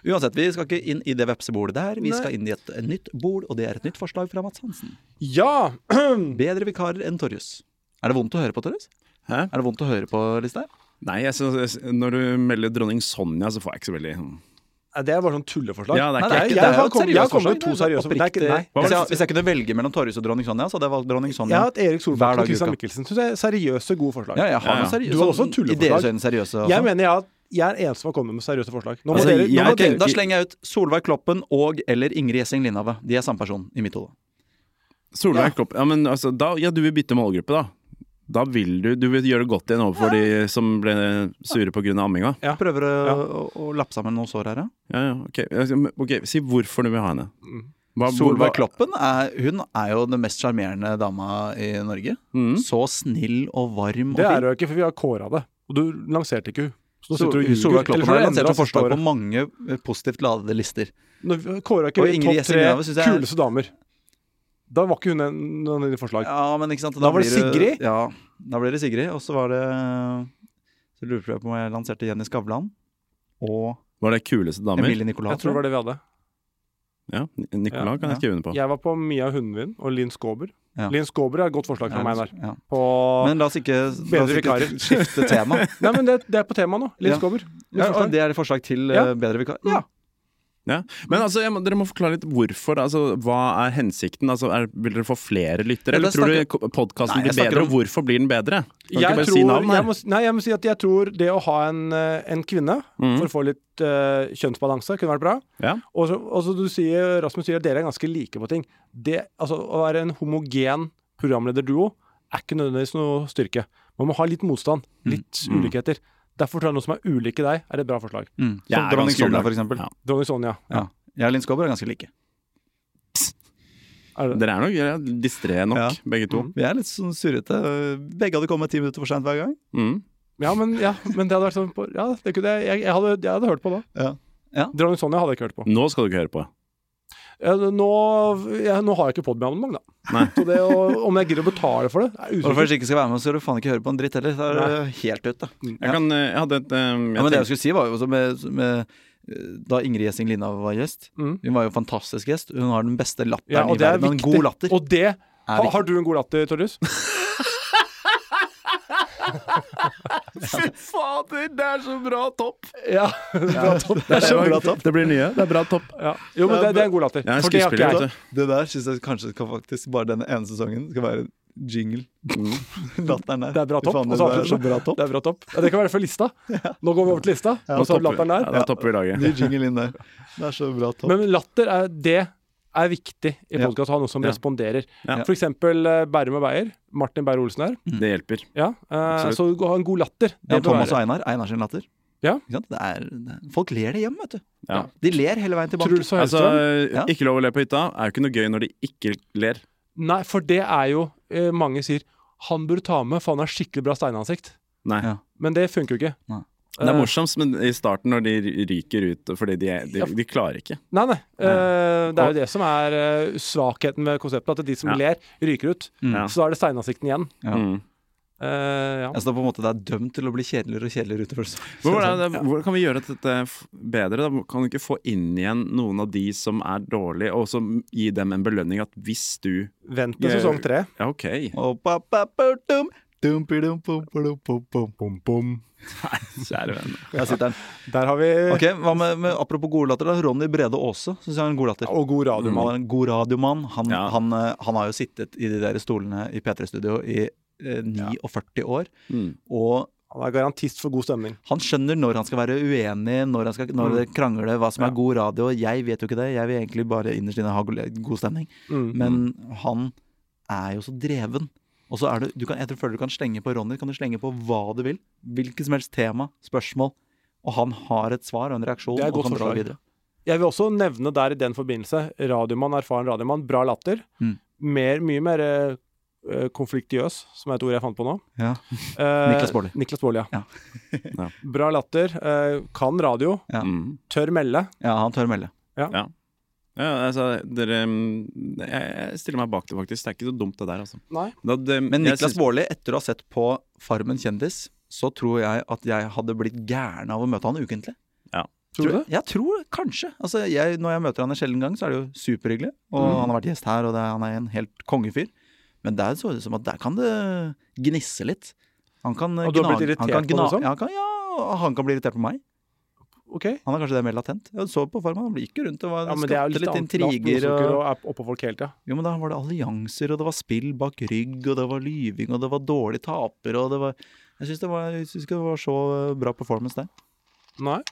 Speaker 2: Uansett, vi skal ikke inn i det vepsebordet der. Vi
Speaker 3: Nei.
Speaker 2: skal inn i et eh, nytt bord, og det er et nytt forslag fra Mats Hansen.
Speaker 3: Ja!
Speaker 2: Bedre vikarer enn Torjus. Er det vondt å høre på, Torjus?
Speaker 4: Hæ?
Speaker 2: Er det vondt å høre på, Listhaug?
Speaker 4: Nei, jeg synes, jeg- når du melder dronning Sonja, så får jeg ikke så veldig sånn-
Speaker 3: Det er bare sånn tulleforslag.
Speaker 4: Ja, det er
Speaker 2: Nei,
Speaker 4: ikke
Speaker 3: jeg-
Speaker 2: ikke-
Speaker 3: jeg
Speaker 2: det er jo
Speaker 3: har
Speaker 2: et
Speaker 3: kommet-
Speaker 2: seriøst
Speaker 3: jeg har
Speaker 2: forslag.
Speaker 3: kommet med to
Speaker 2: Det er
Speaker 3: seriøse, men det er ikke-
Speaker 2: oppriktig-
Speaker 3: nei.
Speaker 2: Hvis jeg, hvis jeg kunne velge mellom Torjus og dronning Sonja, så hadde jeg valgt dronning
Speaker 3: Jeg
Speaker 2: Sonja.
Speaker 3: har hatt
Speaker 2: Hver
Speaker 3: Erik Solbakken
Speaker 2: dag i uka.
Speaker 3: og Christian Michelsen. Synes jeg er seriøse, gode forslag.
Speaker 2: Ja, jeg har
Speaker 4: Ja, ja.
Speaker 2: noen seriøse.
Speaker 3: Du hadde også
Speaker 2: sånn- I
Speaker 3: tulleforslag.
Speaker 2: deres øyne seriøse. sånn?
Speaker 3: Jeg
Speaker 2: også.
Speaker 3: mener jeg, at jeg er den som har kommet med seriøse forslag. Nå må
Speaker 4: Altså,
Speaker 3: dere, nå
Speaker 4: jeg-
Speaker 3: må
Speaker 2: Ok,
Speaker 3: dere
Speaker 2: da slenger jeg ut Solveig Kloppen og eller Ingrid Gjessing Lindhave. De er samme person i mitt hode.
Speaker 4: Solveig
Speaker 3: Ja.
Speaker 4: Klopp ja, men, altså, da, ja, du vil bytte målgruppe, da. Da vil du, du vil gjøre det godt igjen overfor de som ble sure pga. amminga.
Speaker 2: Prøver å,
Speaker 3: Ja.
Speaker 2: å, å lappe sammen noen sår her, ja.
Speaker 4: Ja, ja, ok. Altså, men- ok, Si hvorfor du vil ha henne. Hva-
Speaker 2: Mm. Solveig
Speaker 4: hva-
Speaker 2: Kloppen er, hun er jo den mest sjarmerende dama i Norge.
Speaker 4: Mm.
Speaker 2: Så snill og varm og
Speaker 3: Det er
Speaker 2: fin.
Speaker 3: du ikke, for vi har kåra det. Og du lanserte ikke hun. Så nå
Speaker 2: Så-
Speaker 3: sitter du og
Speaker 2: Solveig
Speaker 3: ljuger.
Speaker 2: Kloppen
Speaker 3: Eller så
Speaker 2: har
Speaker 3: har du
Speaker 2: lansert
Speaker 3: endra
Speaker 2: noen
Speaker 3: siste
Speaker 2: forslag på
Speaker 3: året.
Speaker 2: mange eh, positivt ladede lister.
Speaker 3: Nå kåra
Speaker 2: Og
Speaker 3: ikke vi
Speaker 2: Ingrid
Speaker 3: topp
Speaker 2: Gjessing
Speaker 3: tre
Speaker 2: Lindhave synes jeg er-
Speaker 3: kuleste damer. Da var ikke hun en noen av dine forslag.
Speaker 2: Ja, men ikke sant
Speaker 3: Da var det
Speaker 2: blir
Speaker 3: Sigrid.
Speaker 2: Ja, da ble det Sigrid. Og så var det Så lurer jeg på om jeg lanserte Jenny Skavlan. Og
Speaker 4: Var det kuleste damer?
Speaker 2: Emilie Nicolas.
Speaker 3: Jeg tror det var det vi hadde.
Speaker 4: Ja, Ni- Nicolas
Speaker 3: Ja,
Speaker 4: kan
Speaker 2: ja.
Speaker 4: jeg skrive under på.
Speaker 3: Jeg var på Mia Hundvin og Linn Skåber.
Speaker 2: Ja.
Speaker 3: Linn Skåber er et godt forslag fra meg der.
Speaker 2: Ja.
Speaker 3: På...
Speaker 2: Men la oss ikke, la
Speaker 3: Bedre
Speaker 2: oss ikke
Speaker 3: vikarer.
Speaker 2: skifte tema.
Speaker 3: Nei, men det, det er på temaet nå. Linn
Speaker 2: Ja. Mm.
Speaker 3: Skåber. Mitt
Speaker 2: Ja, og
Speaker 3: forslag.
Speaker 2: det er et forslag til eh,
Speaker 3: Ja.
Speaker 2: bedre vikar.
Speaker 3: Ja.
Speaker 4: Ja. Men altså, jeg, må- dere må forklare litt hvorfor. da. Altså, hva er hensikten? Altså, er, vil dere få flere lyttere? Eller
Speaker 2: Eller
Speaker 4: tror du podkasten
Speaker 2: Nei,
Speaker 4: blir
Speaker 2: jeg snakker
Speaker 4: bedre,
Speaker 2: om-
Speaker 4: og hvorfor blir den bedre? Kan du
Speaker 3: Jeg
Speaker 4: ikke bare
Speaker 3: tror,
Speaker 4: si navn
Speaker 3: jeg
Speaker 4: her?
Speaker 3: må, s- nei, jeg må si at jeg tror det å ha en, eh, en kvinne for å få litt eh, kjønnsbalanse kunne vært bra.
Speaker 4: Mm. Ja.
Speaker 3: Og så- og så du sier, Rasmus sier at dere er ganske like på ting. Det, altså, å være en homogen programlederduo er ikke nødvendigvis noe styrke. Man må ha litt motstand, litt ulikheter. Derfor tror jeg noe som er ulike deg, er et bra forslag.
Speaker 2: Mm.
Speaker 4: Jeg
Speaker 2: Som
Speaker 4: er
Speaker 2: dronning
Speaker 4: ganske
Speaker 2: Sula,
Speaker 4: overrasket.
Speaker 2: for eksempel.
Speaker 4: Ja.
Speaker 2: Ja.
Speaker 3: Dronning Sonja.
Speaker 2: Jeg og Linn Skåber er ganske like.
Speaker 3: Er det?
Speaker 4: Dere er nok dere er distré nok,
Speaker 2: Ja.
Speaker 4: begge to.
Speaker 2: Vi er litt sånn surrete. Begge hadde kommet ti minutter for sent hver gang.
Speaker 4: Mm.
Speaker 3: Ja, men, ja, men det hadde vært sånn på, Ja, det kunne jeg, jeg, jeg, hadde, jeg hadde hørt på da.
Speaker 2: Ja. Ja.
Speaker 3: Dronning Sonja hadde jeg ikke hørt på.
Speaker 4: Nå skal du ikke høre på.
Speaker 3: Ja, nå, ja, nå har jeg ikke Podme-abonnement, da.
Speaker 4: Nei.
Speaker 3: Så det å, om jeg gidder å betale for det, er
Speaker 2: Når du
Speaker 3: usikkert.
Speaker 2: først ikke skal være med, så skal du faen ikke høre på en dritt heller. Da er det helt ut, da.
Speaker 4: Jeg, kan, eh, jeg hadde et eh,
Speaker 2: Ja,
Speaker 4: jeg
Speaker 2: men det jeg
Speaker 4: tenkte-
Speaker 2: skulle si, var jo også med, med eh, Da Ingrid Gjessing Lindhav var gjest.
Speaker 3: Mm.
Speaker 2: Hun var jo en fantastisk gjest. Hun har den beste latteren
Speaker 3: Ja, og
Speaker 2: i
Speaker 3: det er
Speaker 2: verden. og En
Speaker 3: viktig.
Speaker 2: god latter.
Speaker 3: Og det
Speaker 2: er
Speaker 3: ha,
Speaker 2: viktig.
Speaker 3: Har du en god latter, Torjus?
Speaker 4: Fy fader, det er så bra topp!
Speaker 3: Ja. Bra topp.
Speaker 4: Det er så bra topp. Det blir nye. Det er bra topp.
Speaker 3: Ja. Jo, men det, det er en god latter.
Speaker 4: Jeg er
Speaker 3: For det har ikke
Speaker 4: skuespiller,
Speaker 3: jeg.
Speaker 4: vet du.
Speaker 2: Det der syns jeg kanskje skal faktisk bare denne ene sesongen skal være jingle. Latteren der.
Speaker 3: Det er bra topp. Og så avslutter du. Det er bra topp. Ja, det kan være fra lista. Nå går vi over til lista.
Speaker 4: Nå
Speaker 3: Og så
Speaker 4: topper vi-
Speaker 3: latteren
Speaker 4: Ja,
Speaker 3: der.
Speaker 4: da topper vi laget.
Speaker 2: Ny jingle inn der. Det er så bra topp.
Speaker 3: Men latter er det er viktig i
Speaker 2: Ja.
Speaker 3: podkast å ha noe som
Speaker 4: Ja.
Speaker 3: responderer.
Speaker 4: Ja.
Speaker 3: For eksempel eh, Bærum og Beyer. Martin Beyer-Olsen her.
Speaker 4: Det hjelper.
Speaker 3: Ja. eh,
Speaker 4: Absolutt.
Speaker 3: så å ha en god latter.
Speaker 2: Ja,
Speaker 3: Det bør
Speaker 2: Thomas og
Speaker 3: være.
Speaker 2: Einar. Einar sin latter.
Speaker 3: Ja.
Speaker 2: Ikke sant? Det er, det er, folk ler det hjem, vet du.
Speaker 4: Ja.
Speaker 2: De ler hele veien tilbake.
Speaker 3: Truls og
Speaker 4: Altså,
Speaker 3: Hellstrøm?
Speaker 2: Ja.
Speaker 4: Ikke lov å le på hytta er jo ikke noe gøy når de ikke ler.
Speaker 3: Nei, for det er jo eh, Mange sier han burde ta med, for han har skikkelig bra steinansikt.
Speaker 4: Nei.
Speaker 2: Ja.
Speaker 3: Men det funker jo ikke.
Speaker 2: Nei.
Speaker 4: Det er
Speaker 3: Eh,
Speaker 4: morsomst men i starten når de ryker ut fordi de, er- de, de klarer ikke.
Speaker 3: Nei, nei. Eh, det er jo det som er eh, svakheten ved konseptet. At de som
Speaker 4: Ja.
Speaker 3: ler, ryker ut.
Speaker 2: Mm.
Speaker 4: Ja.
Speaker 3: Så da er det steinansikten igjen.
Speaker 2: Ja.
Speaker 4: Mm.
Speaker 3: Eh, ja.
Speaker 2: Altså, det, er på en måte, det er dømt til å bli kjedeligere og kjedeligere utover.
Speaker 4: Hvor, er det, hvordan kan vi gjøre dette f- bedre? Da? Kan du ikke få inn igjen noen av de som er dårlige, og så gi dem en belønning at hvis du
Speaker 3: Vent til
Speaker 4: Jeg-
Speaker 3: sesong tre.
Speaker 4: Ja, OK.
Speaker 2: Og pa, pa, pa, dum, dum, pi, dum, pum, pa, dum, pum, pum.
Speaker 4: Kjære venn.
Speaker 2: Der sitter den.
Speaker 3: Der har vi
Speaker 2: Ok, hva med, med Apropos godlatter, da. Ronny Brede Aase syns jeg er en godlatter.
Speaker 3: Og god
Speaker 2: Han
Speaker 3: radiomann.
Speaker 2: er en god radiomann. Han,
Speaker 4: Ja.
Speaker 2: han, eh, han har jo sittet i de der stolene i P3-studio i eh, 49 år.
Speaker 4: Mm.
Speaker 2: Og
Speaker 3: Han er garantist for god stemning.
Speaker 2: han skjønner når han skal være uenig, når han skal
Speaker 3: Mm.
Speaker 2: når det krangle, hva som er god radio. Jeg vet jo ikke det. Jeg vil egentlig bare innerst inne ha god god stemning.
Speaker 3: Mm.
Speaker 2: Men han er jo så dreven. Og så er du, du kan, jeg tror, føler du kan slenge på Ronny. Kan du slenge på hva du vil? Hvilket som helst tema, spørsmål. Og han har et svar og en reaksjon.
Speaker 3: Det er et
Speaker 2: og
Speaker 3: godt
Speaker 2: kan dra
Speaker 3: forslag.
Speaker 2: videre.
Speaker 3: Jeg vil også nevne der i den forbindelse radiomann, erfaren radiomann, bra latter.
Speaker 2: Mm.
Speaker 3: Mer, mye mer eh, eh, konfliktiøs, som er et ord jeg fant på nå.
Speaker 2: Ja.
Speaker 3: Eh,
Speaker 2: Niklas Baarli.
Speaker 3: Niklas Baarli, ja.
Speaker 4: Ja.
Speaker 3: bra latter, eh, kan radio,
Speaker 2: Ja.
Speaker 4: Mm.
Speaker 3: tør melde.
Speaker 2: ja, han tør melde.
Speaker 4: Ja, altså, dere mm, Jeg jeg stiller meg bak det, faktisk. Det er ikke så dumt, det der, altså.
Speaker 3: Nei.
Speaker 4: Da, det,
Speaker 2: Men
Speaker 4: jeg
Speaker 2: Niklas
Speaker 4: syns-
Speaker 2: Baarli, etter å ha sett på Farmen kjendis, så tror jeg at jeg hadde blitt gæren av å møte han ukentlig.
Speaker 3: Tror du det?
Speaker 2: Jeg tror kanskje. Altså, jeg, når jeg møter han en sjelden gang, så er det jo superhyggelig. Og
Speaker 3: Mm.
Speaker 2: han har vært gjest her, og det, er- han er en helt kongefyr. Men der så det ut som at der kan det gnisse litt. Han kan eh,
Speaker 3: Og du har
Speaker 2: gnage-
Speaker 3: blitt
Speaker 2: han
Speaker 3: irritert
Speaker 2: kan
Speaker 3: på det
Speaker 2: gna-
Speaker 3: sånn?
Speaker 2: Ja, han kan, ja, og han kan bli irritert på meg.
Speaker 3: Ok.
Speaker 2: Han er kanskje det mer latent. Jeg så på Farmen, han gikk jo rundt og var,
Speaker 3: Ja, men det er jo
Speaker 2: skapte
Speaker 3: litt,
Speaker 2: litt
Speaker 3: annet lavt
Speaker 2: intriger.
Speaker 3: blodsukker
Speaker 2: Og,
Speaker 3: og er oppå folk hele tida.
Speaker 2: jo, men da var det allianser, og det var spill bak rygg, og det var lyving, og det var dårlig taper, og det var Jeg syns det, var- jeg synes ikke det var så eh, bra performance der.
Speaker 3: Nei.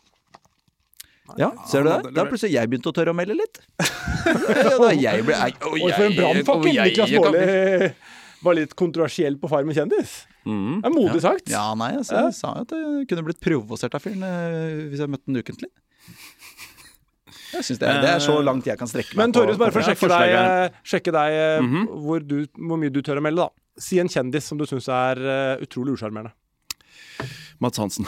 Speaker 2: Ja, ser du
Speaker 4: han
Speaker 2: det?
Speaker 4: hadde
Speaker 2: Da har plutselig jeg begynt å tørre å melde litt. Ja, da jeg ble jeg, og
Speaker 3: Oi, for en
Speaker 2: jeg- og
Speaker 3: brannfakkel!
Speaker 2: jeg-
Speaker 3: Niklas
Speaker 2: jeg kan-
Speaker 3: Baarli var litt kontroversiell på Farmen kjendis.
Speaker 4: Mm.
Speaker 3: Det er modig sagt.
Speaker 2: Ja, nei, altså, jeg sa jo at jeg kunne blitt provosert av fyren eh, hvis jeg møtte han ukentlig. Jeg synes det, er, det er så langt jeg kan strekke meg.
Speaker 3: Men Torjus, bare for å
Speaker 4: Ja,
Speaker 3: sjekke
Speaker 4: forslaget
Speaker 3: deg, eh, sjekke deg eh, hvor, du, hvor mye du tør å melde, da. Si en kjendis som du syns er eh, utrolig usjarmerende.
Speaker 4: Mads Hansen.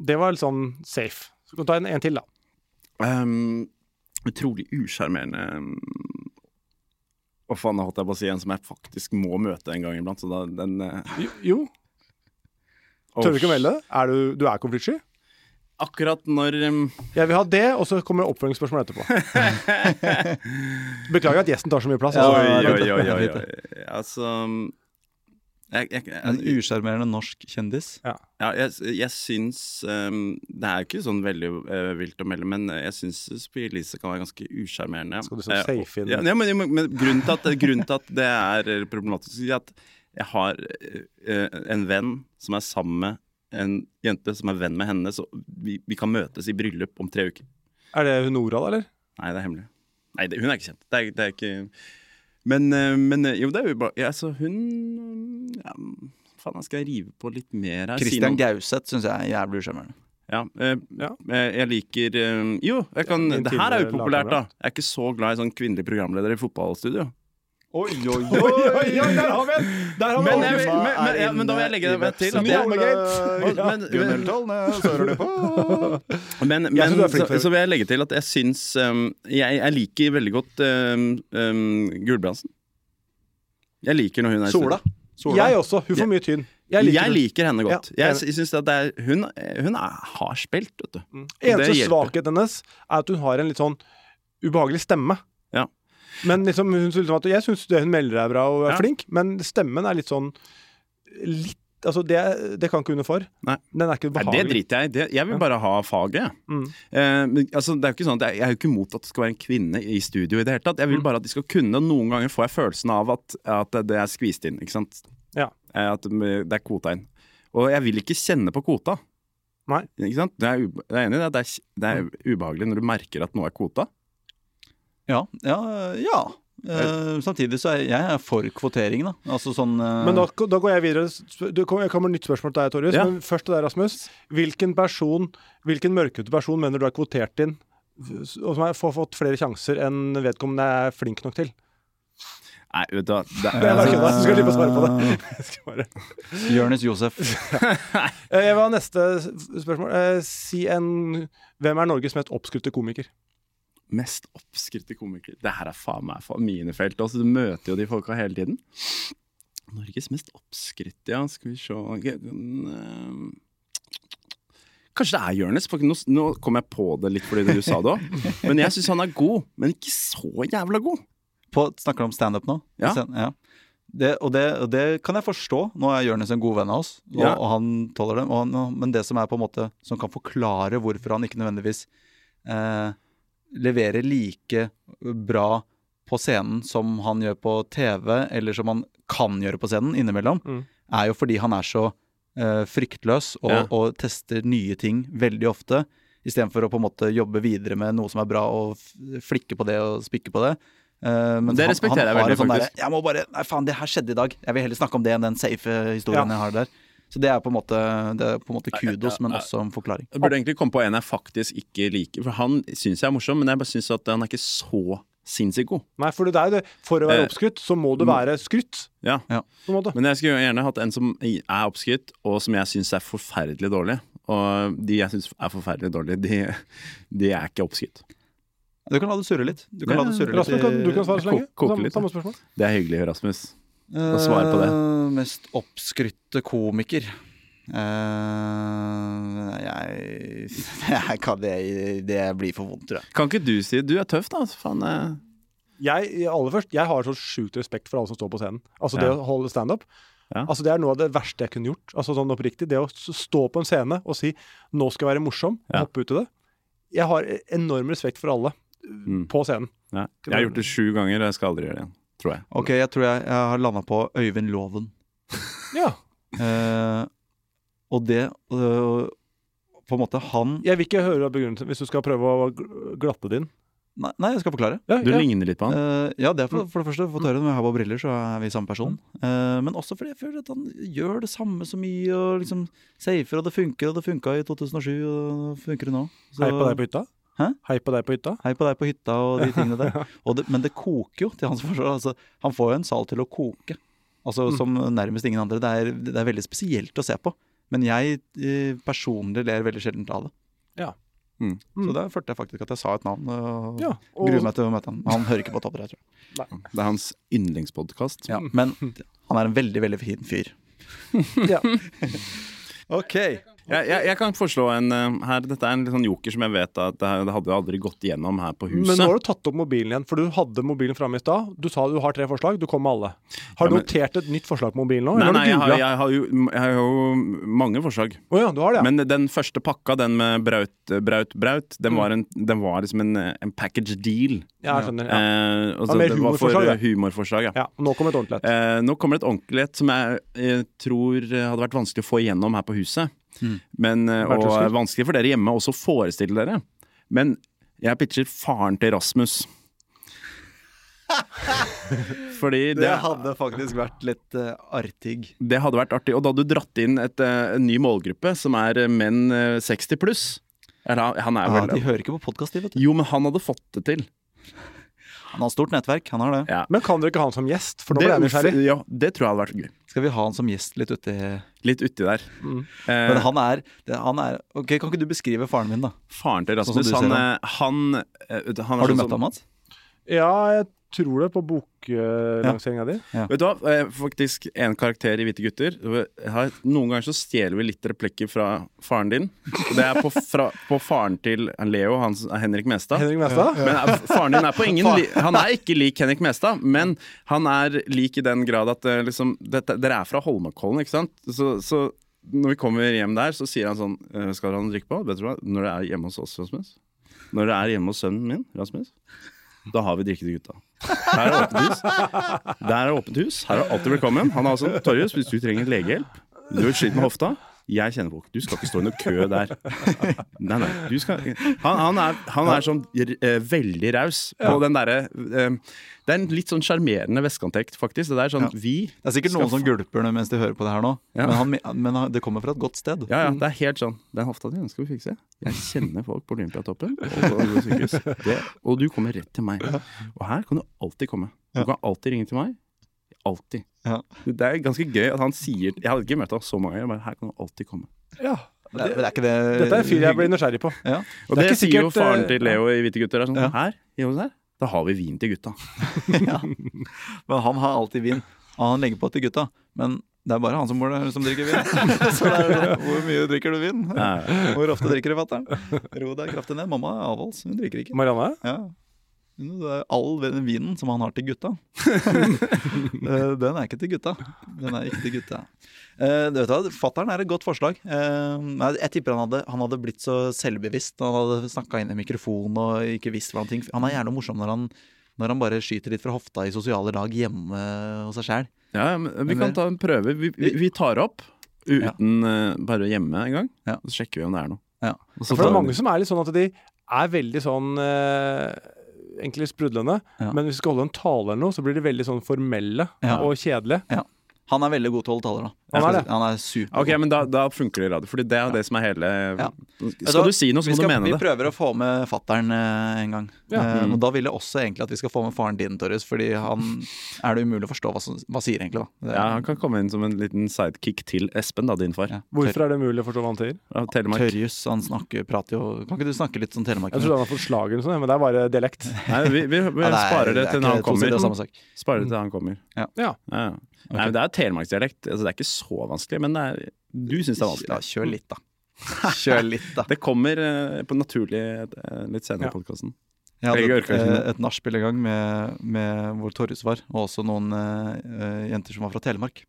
Speaker 3: Det var litt sånn safe. Så kan du ta en, en til, da.
Speaker 4: Um, utrolig usjarmerende um, Å faen, nå holdt jeg på å si en som jeg faktisk må møte en gang iblant. Så da, den, eh,
Speaker 3: Jo. jo. Tør du ikke å melde? Er du, du er konfliktsky?
Speaker 4: Akkurat når um,
Speaker 3: Jeg vil ha det, og så kommer oppfølgingsspørsmål etterpå. Beklager at gjesten tar så mye plass.
Speaker 2: Ja,
Speaker 4: Oi,
Speaker 3: altså.
Speaker 2: ja, ja.
Speaker 4: oi, oi, oi,
Speaker 2: fint,
Speaker 4: oi. Altså um, jeg, jeg,
Speaker 2: En
Speaker 4: jeg,
Speaker 2: usjarmerende norsk kjendis.
Speaker 4: ja, jeg, jeg syns um, Det er jo ikke sånn veldig eh, vilt å melde, men jeg syns Sophie Elise kan være ganske usjarmerende.
Speaker 3: Skal du så
Speaker 4: Eh, og-
Speaker 3: safe inn?
Speaker 4: Ja, ja, men, men grunnen, til at, grunnen til at det er eh, problematisk, er at jeg har eh, en venn som er sammen med en jente som er venn med henne, så vi, vi kan møtes i bryllup om tre uker.
Speaker 3: Er det hun Nora, da, eller?
Speaker 4: Nei, det er hemmelig. Nei, det, hun er ikke kjent. Det er, det er ikke Men, eh, men eh, jo, det er jo bra. Ja, altså, hun ja, Faen, jeg skal rive på litt mer her. Si
Speaker 2: Christian
Speaker 4: noe.
Speaker 2: Gauseth syns jeg er jævlig usjarmerende.
Speaker 4: Ja, eh,
Speaker 3: Ja.
Speaker 4: eh, jeg liker eh, Jo, jeg kan,
Speaker 3: Ja, din
Speaker 4: det her er
Speaker 3: tidligere
Speaker 4: upopulært, da.
Speaker 3: lagkamerat.
Speaker 4: Jeg er ikke så glad i sånn kvinnelige programledere i fotballstudio.
Speaker 2: Oi, oi,
Speaker 3: der har vi en! Der har
Speaker 4: Men, jeg, vil- men, men, ja, men da vil jeg legge det til at jeg, men, men,
Speaker 2: hører du på?
Speaker 3: Jeg
Speaker 4: men,
Speaker 3: synes
Speaker 4: men
Speaker 3: du er flink,
Speaker 4: så,
Speaker 3: Fredrik.
Speaker 4: så vil jeg legge til at jeg syns um, jeg, jeg liker veldig godt um, um, Gulbrandsen. Jeg liker når hun er i
Speaker 2: Sola.
Speaker 4: studio.
Speaker 2: Sola.
Speaker 3: Jeg også. Hun får mye tyn. Jeg liker
Speaker 4: Jeg
Speaker 3: hun.
Speaker 4: liker henne godt.
Speaker 3: Ja,
Speaker 4: Jeg, sy- syns at det er, hun hun er, har spilt, vet du. Det
Speaker 3: Mm. Eneste
Speaker 4: hjelper.
Speaker 3: svakheten hennes er at hun har en litt sånn ubehagelig stemme.
Speaker 4: Ja.
Speaker 3: Men liksom, hun, synes liksom at, Jeg syns det hun melder er bra og er
Speaker 4: Ja.
Speaker 3: flink, men stemmen er litt sånn Litt Altså, det, det kan ikke hun noe for.
Speaker 4: Nei.
Speaker 3: Den er ikke
Speaker 4: Nei, det
Speaker 3: behagelig.
Speaker 4: driter jeg i. Det- Jeg vil bare ha faget, jeg.
Speaker 3: Mm.
Speaker 4: Eh, men, altså, det er jo ikke sånn at jeg, jeg er jo ikke imot at det skal være en kvinne i studio i det hele tatt. Jeg
Speaker 3: Mm.
Speaker 4: vil bare at de skal kunne, og noen ganger får jeg følelsen av at, at det er skvist inn, ikke sant.
Speaker 3: Ja.
Speaker 4: Eh, At det er kvota inn. Og jeg vil ikke kjenne på kvota.
Speaker 3: Nei. Mm.
Speaker 4: Ikke sant? Jeg er, ube- jeg er enig i det. Det er, det er ubehagelig når du merker at noe er kvota.
Speaker 2: Ja, ja, ja. Eh, samtidig så er jeg er for kvotering, da. Altså sånn eh,
Speaker 3: Men da, da går jeg videre. Sp- Du, kom- jeg kommer med et nytt spørsmål til deg, Torjus.
Speaker 4: Ja.
Speaker 3: Men først til deg, Rasmus. Hvilken person, hvilken mørkhudet person mener du er kvotert inn, og som har få- fått flere sjanser enn vedkommende er flink nok til?
Speaker 4: Nei, vet du hva. Det,
Speaker 3: Jeg bare kødda, så skal du slippe å svare på
Speaker 2: eh,
Speaker 3: det. Jeg skal bare-
Speaker 2: Jonis Josef.
Speaker 3: Eh, Jeg vil ha neste s- spørsmål. Eh, Si en Hvem er Norges mest oppskrytte komiker?
Speaker 4: mest oppskrytte komiker Det her er faen meg faen mine felt. Altså, du møter jo de folka hele tiden. Norges mest oppskrytte, ja. Skal vi se Ok, den, ehm, Kanskje det er Jonis. for Nå, nå kom jeg på det litt fordi du sa det òg. Men jeg syns han er god, men ikke så jævla god.
Speaker 2: På, snakker du om standup nå?
Speaker 4: Ja.
Speaker 2: Stand- ja. Det, og, det, og det kan jeg forstå. Nå er Jonis en god venn av oss, og,
Speaker 4: Ja.
Speaker 2: og han tåler det. Og han, men det som er på en måte Som kan forklare hvorfor han ikke nødvendigvis eh, leverer like bra på scenen som han gjør på TV, eller som han kan gjøre på scenen innimellom,
Speaker 3: Mm.
Speaker 2: er jo fordi han er så eh, fryktløs og,
Speaker 4: Ja.
Speaker 2: og tester nye ting veldig ofte. Istedenfor å på en måte jobbe videre med noe som er bra, og f- flikke på det og spikke på det. Eh, men
Speaker 4: Det
Speaker 2: han-
Speaker 4: respekterer
Speaker 2: han
Speaker 4: jeg
Speaker 2: har
Speaker 4: veldig,
Speaker 2: en sånn
Speaker 4: faktisk.
Speaker 2: derre, jeg må bare, nei faen, det her skjedde i dag. Jeg vil heller snakke om det enn den safe eh, historien
Speaker 3: Ja.
Speaker 2: jeg har der. Så det er på en måte, det er på en måte kudos, men
Speaker 4: nei.
Speaker 2: også en forklaring.
Speaker 4: Jeg burde egentlig komme på en jeg faktisk ikke liker. For han syns jeg er morsom, men jeg bare syns at han er ikke så sinnssykt god.
Speaker 3: Nei, for det er jo det. For å være
Speaker 4: Eh,
Speaker 3: oppskrytt, så må du være skrytt,
Speaker 4: Ja.
Speaker 3: på en måte.
Speaker 4: Men jeg skulle jo gjerne hatt en som er oppskrytt, og som jeg syns er forferdelig dårlig. Og de jeg syns er forferdelig dårlige, de, de er ikke oppskrytt.
Speaker 2: Du kan la det surre litt. Du kan la det surre litt.
Speaker 3: Rasmus, kan, du kan svare så lenge.
Speaker 4: Ko- koke
Speaker 3: Samme,
Speaker 4: litt,
Speaker 3: samme spørsmål.
Speaker 4: Det er hyggelig, Rasmus.
Speaker 2: Eh,
Speaker 4: svare på det.
Speaker 2: Mest oppskrytte komiker. Eh, jeg, jeg kan det, det blir for vondt, tror jeg.
Speaker 4: Kan ikke du si du er tøff, da? Faen, eh.
Speaker 3: Jeg, aller først, jeg har så sjukt respekt for alle som står på scenen. Altså
Speaker 4: Ja.
Speaker 3: det å holde standup.
Speaker 4: Ja.
Speaker 3: Altså, det er noe av det verste jeg kunne gjort. Altså sånn oppriktig, Det å s- stå på en scene og si 'nå skal jeg være morsom', og
Speaker 4: Ja.
Speaker 3: hoppe ut i det. Jeg har e-, enorm respekt for alle eh,
Speaker 4: Mm.
Speaker 3: på scenen.
Speaker 4: ja. Jeg har gjort det sju ganger, og jeg skal aldri gjøre det igjen. Tror jeg.
Speaker 2: Ok, jeg tror jeg, jeg har landa på Øyvind Loven.
Speaker 3: Ja.
Speaker 2: Eh, og det eh, På en måte, han
Speaker 3: Jeg vil ikke høre begrunnelsen hvis du skal prøve å gl- glatte din.
Speaker 2: Nei, nei jeg skal forklare.
Speaker 3: Ja,
Speaker 4: Du
Speaker 3: ja. Mm.
Speaker 4: ligner litt på han.
Speaker 2: Eh, ja, det er for, for det første. Fått høre det, når jeg har på briller, så er vi samme person. Eh, men også fordi jeg føler at han gjør det samme så mye, og liksom safer, og det funker, og det funka i 2007, og det funker det nå. Så-
Speaker 3: Hei på deg på hytta.
Speaker 2: Hæ?
Speaker 3: Hei på deg på hytta.
Speaker 2: Hei på deg på hytta og de tingene der. Og det, men det koker jo, til hans forsvar. Altså, han får jo en sal til å koke, altså,
Speaker 3: Mm.
Speaker 2: som nærmest ingen andre. Det er, det er veldig spesielt å se på. Men jeg eh, personlig ler veldig sjelden av det.
Speaker 3: Ja.
Speaker 4: Mm.
Speaker 2: Så da følte jeg faktisk at jeg sa et navn. Og
Speaker 3: Ja, og-
Speaker 2: gruer meg til å møte han. Han hører ikke på Topp 3, tror jeg.
Speaker 4: Det er hans yndlingspodkast.
Speaker 2: Ja, men han er en veldig, veldig fin fyr.
Speaker 3: Ja.
Speaker 2: Ok.
Speaker 4: Jeg, jeg, jeg kan foreslå en eh, her. Dette er en litt sånn joker som jeg vet at det, her- det hadde jo aldri gått gjennom her på huset.
Speaker 3: Men nå har du tatt opp mobilen igjen, for du hadde mobilen framme i stad. Du sa du har tre forslag, du kom med alle. Har du
Speaker 4: Ja, men-
Speaker 3: notert et nytt forslag på mobilen nå?
Speaker 4: Nei,
Speaker 3: eller
Speaker 4: nei, jeg
Speaker 3: har
Speaker 4: har,
Speaker 3: du googlet?
Speaker 4: jeg, har jo, jeg har jo mange forslag.
Speaker 3: Å ja, du har det, ja.
Speaker 4: Men den første pakka, den med braut, braut, braut, den
Speaker 3: Mm.
Speaker 4: var, en, den var liksom en, en package deal.
Speaker 3: ja jeg skjønner. Ja.
Speaker 4: Eh, og
Speaker 3: Ja,
Speaker 4: så
Speaker 3: mer
Speaker 4: det var for
Speaker 3: humorforslag, ja.
Speaker 4: eh, humorforslag, ja.
Speaker 3: Ja, nå kom et ordentlig et.
Speaker 4: Eh, nå kommer det et ordentlig et som jeg eh, tror eh, hadde vært vanskelig å få igjennom her på huset.
Speaker 3: Mm.
Speaker 4: Men, eh, og
Speaker 3: Bertelsen.
Speaker 4: er vanskelig for dere hjemme også å forestille dere. Men jeg pitcher faren til Rasmus. Fordi det,
Speaker 2: Det hadde faktisk vært litt eh, artig.
Speaker 4: det hadde vært artig. Og da hadde du dratt inn et, eh, en ny målgruppe, som er eh, menn eh, 60 pluss. Eller, han er
Speaker 2: Ja,
Speaker 4: vel
Speaker 2: Ah, de hører ikke på podkast, de, vet du.
Speaker 4: Jo, men han hadde fått det til.
Speaker 2: Han har stort nettverk, han har det.
Speaker 4: Ja.
Speaker 3: Men kan dere ikke ha han som gjest? For nå ble jeg nysgjerrig.
Speaker 4: ja, det tror jeg hadde vært gøy.
Speaker 2: Skal vi ha han som gjest litt uti
Speaker 4: Litt uti der. Eh,
Speaker 2: Men han er, det, han er Ok, Kan ikke du beskrive faren min, da?
Speaker 4: Faren til
Speaker 2: Sånn som
Speaker 4: Rasmus,
Speaker 2: du ser
Speaker 4: han, eh, han, eh, vet du, han
Speaker 2: Har
Speaker 4: er
Speaker 2: du
Speaker 4: sånn
Speaker 2: møtt
Speaker 4: som-
Speaker 2: ham, Mats?
Speaker 3: Ja, jeg tror det på boklanseringa di.
Speaker 4: Vet du hva, eh, faktisk en karakter i Hvite gutter. Jeg har- Noen ganger så stjeler vi litt replikker fra faren din. Og det er på, fra, på faren til Leo, han, som er Henrik Mestad.
Speaker 3: Henrik Mestad?
Speaker 4: Men eh, faren din er på ingen li Han er ikke lik Henrik Mestad, men han er lik i den grad at eh, liksom, dette, Dere er fra Holmenkollen, ikke sant? Så, så når vi kommer hjem der, så sier han sånn eh, Skal du ha noe å drikke på? Vet du hva? Når det er hjemme hos oss, Rasmus Når det er hjemme hos sønnen min, Rasmus da har vi drikke til gutta. Her er åpent hus. Der er åpent hus. Her er alltid velkommen. Han er altså Torjus, hvis du trenger legehjelp, du sliter med hofta, Jeg kjenner folk. Du skal ikke stå i noen kø der. Nei, nei, du skal Han, han, er, han er sånn eh, veldig raus på den derre eh, Det er en litt sånn sjarmerende vestkantekt, faktisk. Det der sånn Vi
Speaker 2: Det er sikkert noen som gulper nå mens de hører på det her nå,
Speaker 4: Ja.
Speaker 2: men, han, me- men han, det kommer fra et godt sted.
Speaker 4: Ja, ja, det er helt sånn. Den hofta di den skal vi fikse. Jeg kjenner folk på Olympiatoppen. Og, på Oslo sykehus. det, og du kommer rett til meg. Og her kan du alltid komme. Du
Speaker 2: Ja.
Speaker 4: kan alltid ringe til meg. Alltid.
Speaker 2: Ja.
Speaker 4: Det er ganske gøy at han sier Jeg hadde ikke møtt ham så mange ganger, men her kan du alltid komme.
Speaker 3: Ja.
Speaker 2: Det, det er ikke det
Speaker 3: Dette er en fyr jeg blir nysgjerrig på.
Speaker 2: ja.
Speaker 3: Det
Speaker 4: Og det,
Speaker 3: er ikke
Speaker 4: sier jo
Speaker 3: sikkert,
Speaker 4: faren
Speaker 3: eh,
Speaker 4: til Leo i Hvite gutter. Er sånn,
Speaker 2: Ja.
Speaker 4: Her, gjør vi det her? Da har vi vin til gutta.
Speaker 2: Men han har alltid vin. Og han legger på til gutta. Men det er bare han som bor der, som drikker vin. Så det er sånn, hvor mye drikker du vin? Hvor ofte drikker du, fatter'n? Ro deg kraftig ned. Mamma er avholds, hun drikker ikke.
Speaker 3: Marianne?
Speaker 2: Ja. Det er all den vinen som han har til gutta. Eh, den er ikke til gutta. Den er ikke til gutta. Eh, du vet hva, Fattern er et godt forslag. Eh, nei, jeg tipper han hadde, han hadde blitt så selvbevisst. Han hadde snakka inn i mikrofonen og ikke visst hvordan ting Han er gjerne morsom når han, når han bare skyter litt fra hofta i sosiale lag hjemme hos seg sjæl.
Speaker 4: Ja, men vi kan ta en prøve. Vi, vi, vi tar opp uten eh, bare hjemme en gang.
Speaker 2: Ja.
Speaker 4: Og så sjekker vi om det er noe.
Speaker 2: Ja.
Speaker 4: Og så
Speaker 3: For det
Speaker 4: tar
Speaker 3: er
Speaker 4: vi-
Speaker 3: mange som er litt sånn at de er veldig sånn eh, Egentlig sprudlende,
Speaker 2: Ja.
Speaker 3: men hvis vi skal holde en tale eller noe, så blir de veldig sånn formelle
Speaker 2: Ja.
Speaker 3: og kjedelige.
Speaker 2: Han er veldig god til å holde taler, da.
Speaker 3: Han er det.
Speaker 2: Han er super.
Speaker 4: Ok, men da, da funker det i radio, Fordi det er jo det som er hele
Speaker 2: Ja.
Speaker 4: Skal du si noe, så
Speaker 2: vi
Speaker 4: må du
Speaker 2: skal-
Speaker 4: mene
Speaker 2: Vi
Speaker 4: det. Mm.
Speaker 2: prøver å få med fattern en gang.
Speaker 3: Ja.
Speaker 2: Eh, og da vil jeg også egentlig at vi skal få med faren din, Torjus. Fordi han er det umulig å forstå hva, som, hva sier egentlig, da. Det,
Speaker 4: Ja, Han kan komme inn som en liten sidekick til Espen, da, din far.
Speaker 2: Ja.
Speaker 3: Hvorfor er det mulig å forstå hva han sier?
Speaker 4: Av Telemark.
Speaker 2: Tørjus, han snakker, prater jo Kan ikke du snakke litt sånn telemark?
Speaker 3: Jeg trodde han hadde fått slager, eller noe sånt, men det er bare dialekt.
Speaker 4: Nei, vi, vi, vi
Speaker 2: Ja, det er-
Speaker 4: sparer det
Speaker 2: er
Speaker 4: til
Speaker 2: ikke
Speaker 4: når han
Speaker 2: to sider av samme
Speaker 4: kommer.
Speaker 2: sak. Mm.
Speaker 4: Sparer det til han kommer.
Speaker 3: Ja.
Speaker 4: Ja. ja. Nei, men Det er telemarksdialekt. Altså, det er ikke så vanskelig, men det er, du syns det er
Speaker 2: Ja,
Speaker 4: vanskelig.
Speaker 2: kjør litt, da. Kjør litt, da.
Speaker 4: Det kommer eh, på naturlig eh, litt senere i
Speaker 3: Ja.
Speaker 4: podkasten.
Speaker 2: Sånn Jeg hadde
Speaker 4: Jeg
Speaker 2: et,
Speaker 4: orker ikke
Speaker 2: eh, et nachspiel en gang med, med hvor Torjus var, og også noen eh, eh, jenter som var fra Telemark.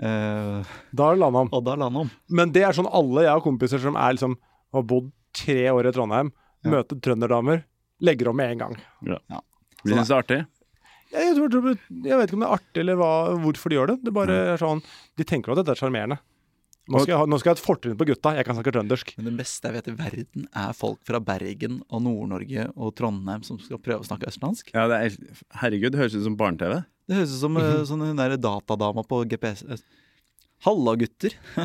Speaker 2: Eh,
Speaker 3: Da er det landa om.
Speaker 2: og da la han om.
Speaker 3: Men det er sånn alle jeg har kompiser som er liksom har bodd tre år i Trondheim,
Speaker 2: Ja.
Speaker 3: møter trønderdamer, legger om med en gang.
Speaker 4: Du syns det er artig?
Speaker 3: Jeg, tror, tror, jeg vet ikke om det er artig eller hva, hvorfor de gjør det. Det bare er sånn, De tenker at dette er sjarmerende. Nå, skal jeg ha- nå skal jeg ha et fortrinn på gutta, jeg kan snakke trøndersk.
Speaker 2: Men det beste jeg vet i verden, er folk fra Bergen og Nord-Norge og Trondheim som skal prøve å snakke østlandsk.
Speaker 4: Ja, det er, herregud, det høres ut som barne-TV.
Speaker 2: Det høres ut som eh, sånn hun der datadama på GPS. eh, Halla, gutter.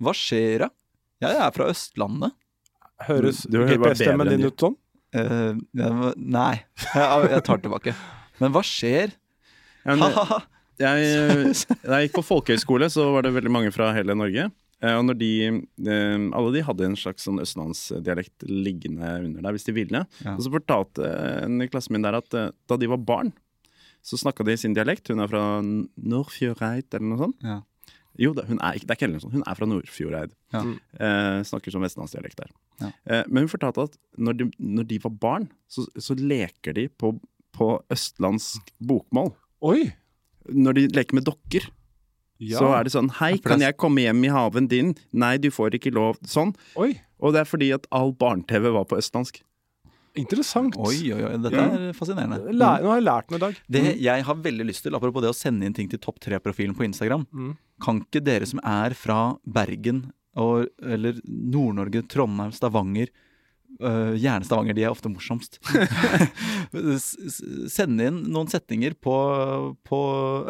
Speaker 2: Hva skjer da? Jeg er fra Østlandet.
Speaker 3: Høres
Speaker 4: Du hører bare bedre
Speaker 3: GPS-stemmen
Speaker 4: enn
Speaker 3: din
Speaker 4: de.
Speaker 3: ut sånn?
Speaker 2: Eh, jeg må- nei, jeg, jeg tar det tilbake. Men hva skjer?
Speaker 4: Ja, men-
Speaker 2: Ha-ha-ha.
Speaker 4: jeg, da jeg gikk på folkehøyskole, så var det veldig mange fra hele Norge. Eh, Og når de, eh, alle de hadde en slags sånn østlandsdialekt liggende under der hvis de ville.
Speaker 2: Ja.
Speaker 4: Og så fortalte en i klassen min der at eh, da de var barn, så snakka de sin dialekt. Hun er fra N- Nordfjordeid eller noe sånt.
Speaker 2: Ja.
Speaker 4: Jo, det, hun er ikke, det er ikke Elnesson, hun er fra Nordfjordeid.
Speaker 2: Ja.
Speaker 4: Eh, snakker som vestlandsdialekt der.
Speaker 2: Ja.
Speaker 4: Eh, men hun fortalte at når de, når de var barn, så, så leker de på, på østlandsk bokmål.
Speaker 3: Oi!
Speaker 4: Når de leker med dokker.
Speaker 3: Ja.
Speaker 4: Så er det sånn Hei,
Speaker 2: For det er-
Speaker 4: kan jeg komme hjem i haven din? Nei, du får ikke lov. Sånn.
Speaker 3: Oi,
Speaker 4: Og det er fordi at all barne-TV var på østlandsk.
Speaker 3: interessant.
Speaker 2: Oi, oi, oi. Dette er fascinerende.
Speaker 3: Læ- nå har jeg lært noe i dag.
Speaker 2: Det jeg har veldig lyst til, apropos det å sende inn ting til topp tre-profilen på Instagram
Speaker 3: Mm.
Speaker 2: Kan ikke dere som er fra Bergen og, eller Nord-Norge, Trondheim, Stavanger øh, Gjerne Stavanger, de er ofte morsomst. S- s- Sende inn noen setninger på, på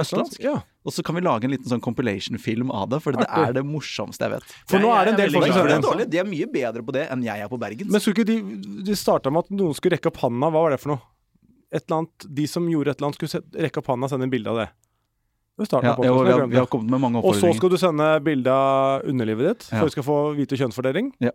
Speaker 2: østlandsk,
Speaker 3: Mm. Ja.
Speaker 2: og så kan vi lage en liten sånn compilation-film av det. For det
Speaker 3: Artig.
Speaker 2: er det morsomste jeg vet.
Speaker 3: For
Speaker 4: Jeg-
Speaker 3: nå er det en
Speaker 4: jeg er
Speaker 3: del
Speaker 4: veldig
Speaker 3: folk som
Speaker 4: glad
Speaker 3: sender
Speaker 4: for
Speaker 3: inn.
Speaker 4: det.
Speaker 2: dårlig. De er mye bedre på det enn jeg er på Bergen.
Speaker 3: Men skulle ikke de De starta med at noen skulle rekke opp handa. Hva var det for noe? Et eller annet, de som gjorde et eller annet, skulle set- rekke opp handa og sende en bilde av det. Det starten
Speaker 2: ja,
Speaker 3: på,
Speaker 2: jo,
Speaker 3: så
Speaker 2: vi, har,
Speaker 3: glem
Speaker 2: vi
Speaker 3: det.
Speaker 2: har kommet med mange
Speaker 3: Og så
Speaker 2: oppfordringer.
Speaker 3: skal du sende bilde av underlivet ditt,
Speaker 2: Ja.
Speaker 3: for vi skal få vite kjønnsfordeling.
Speaker 2: Ja.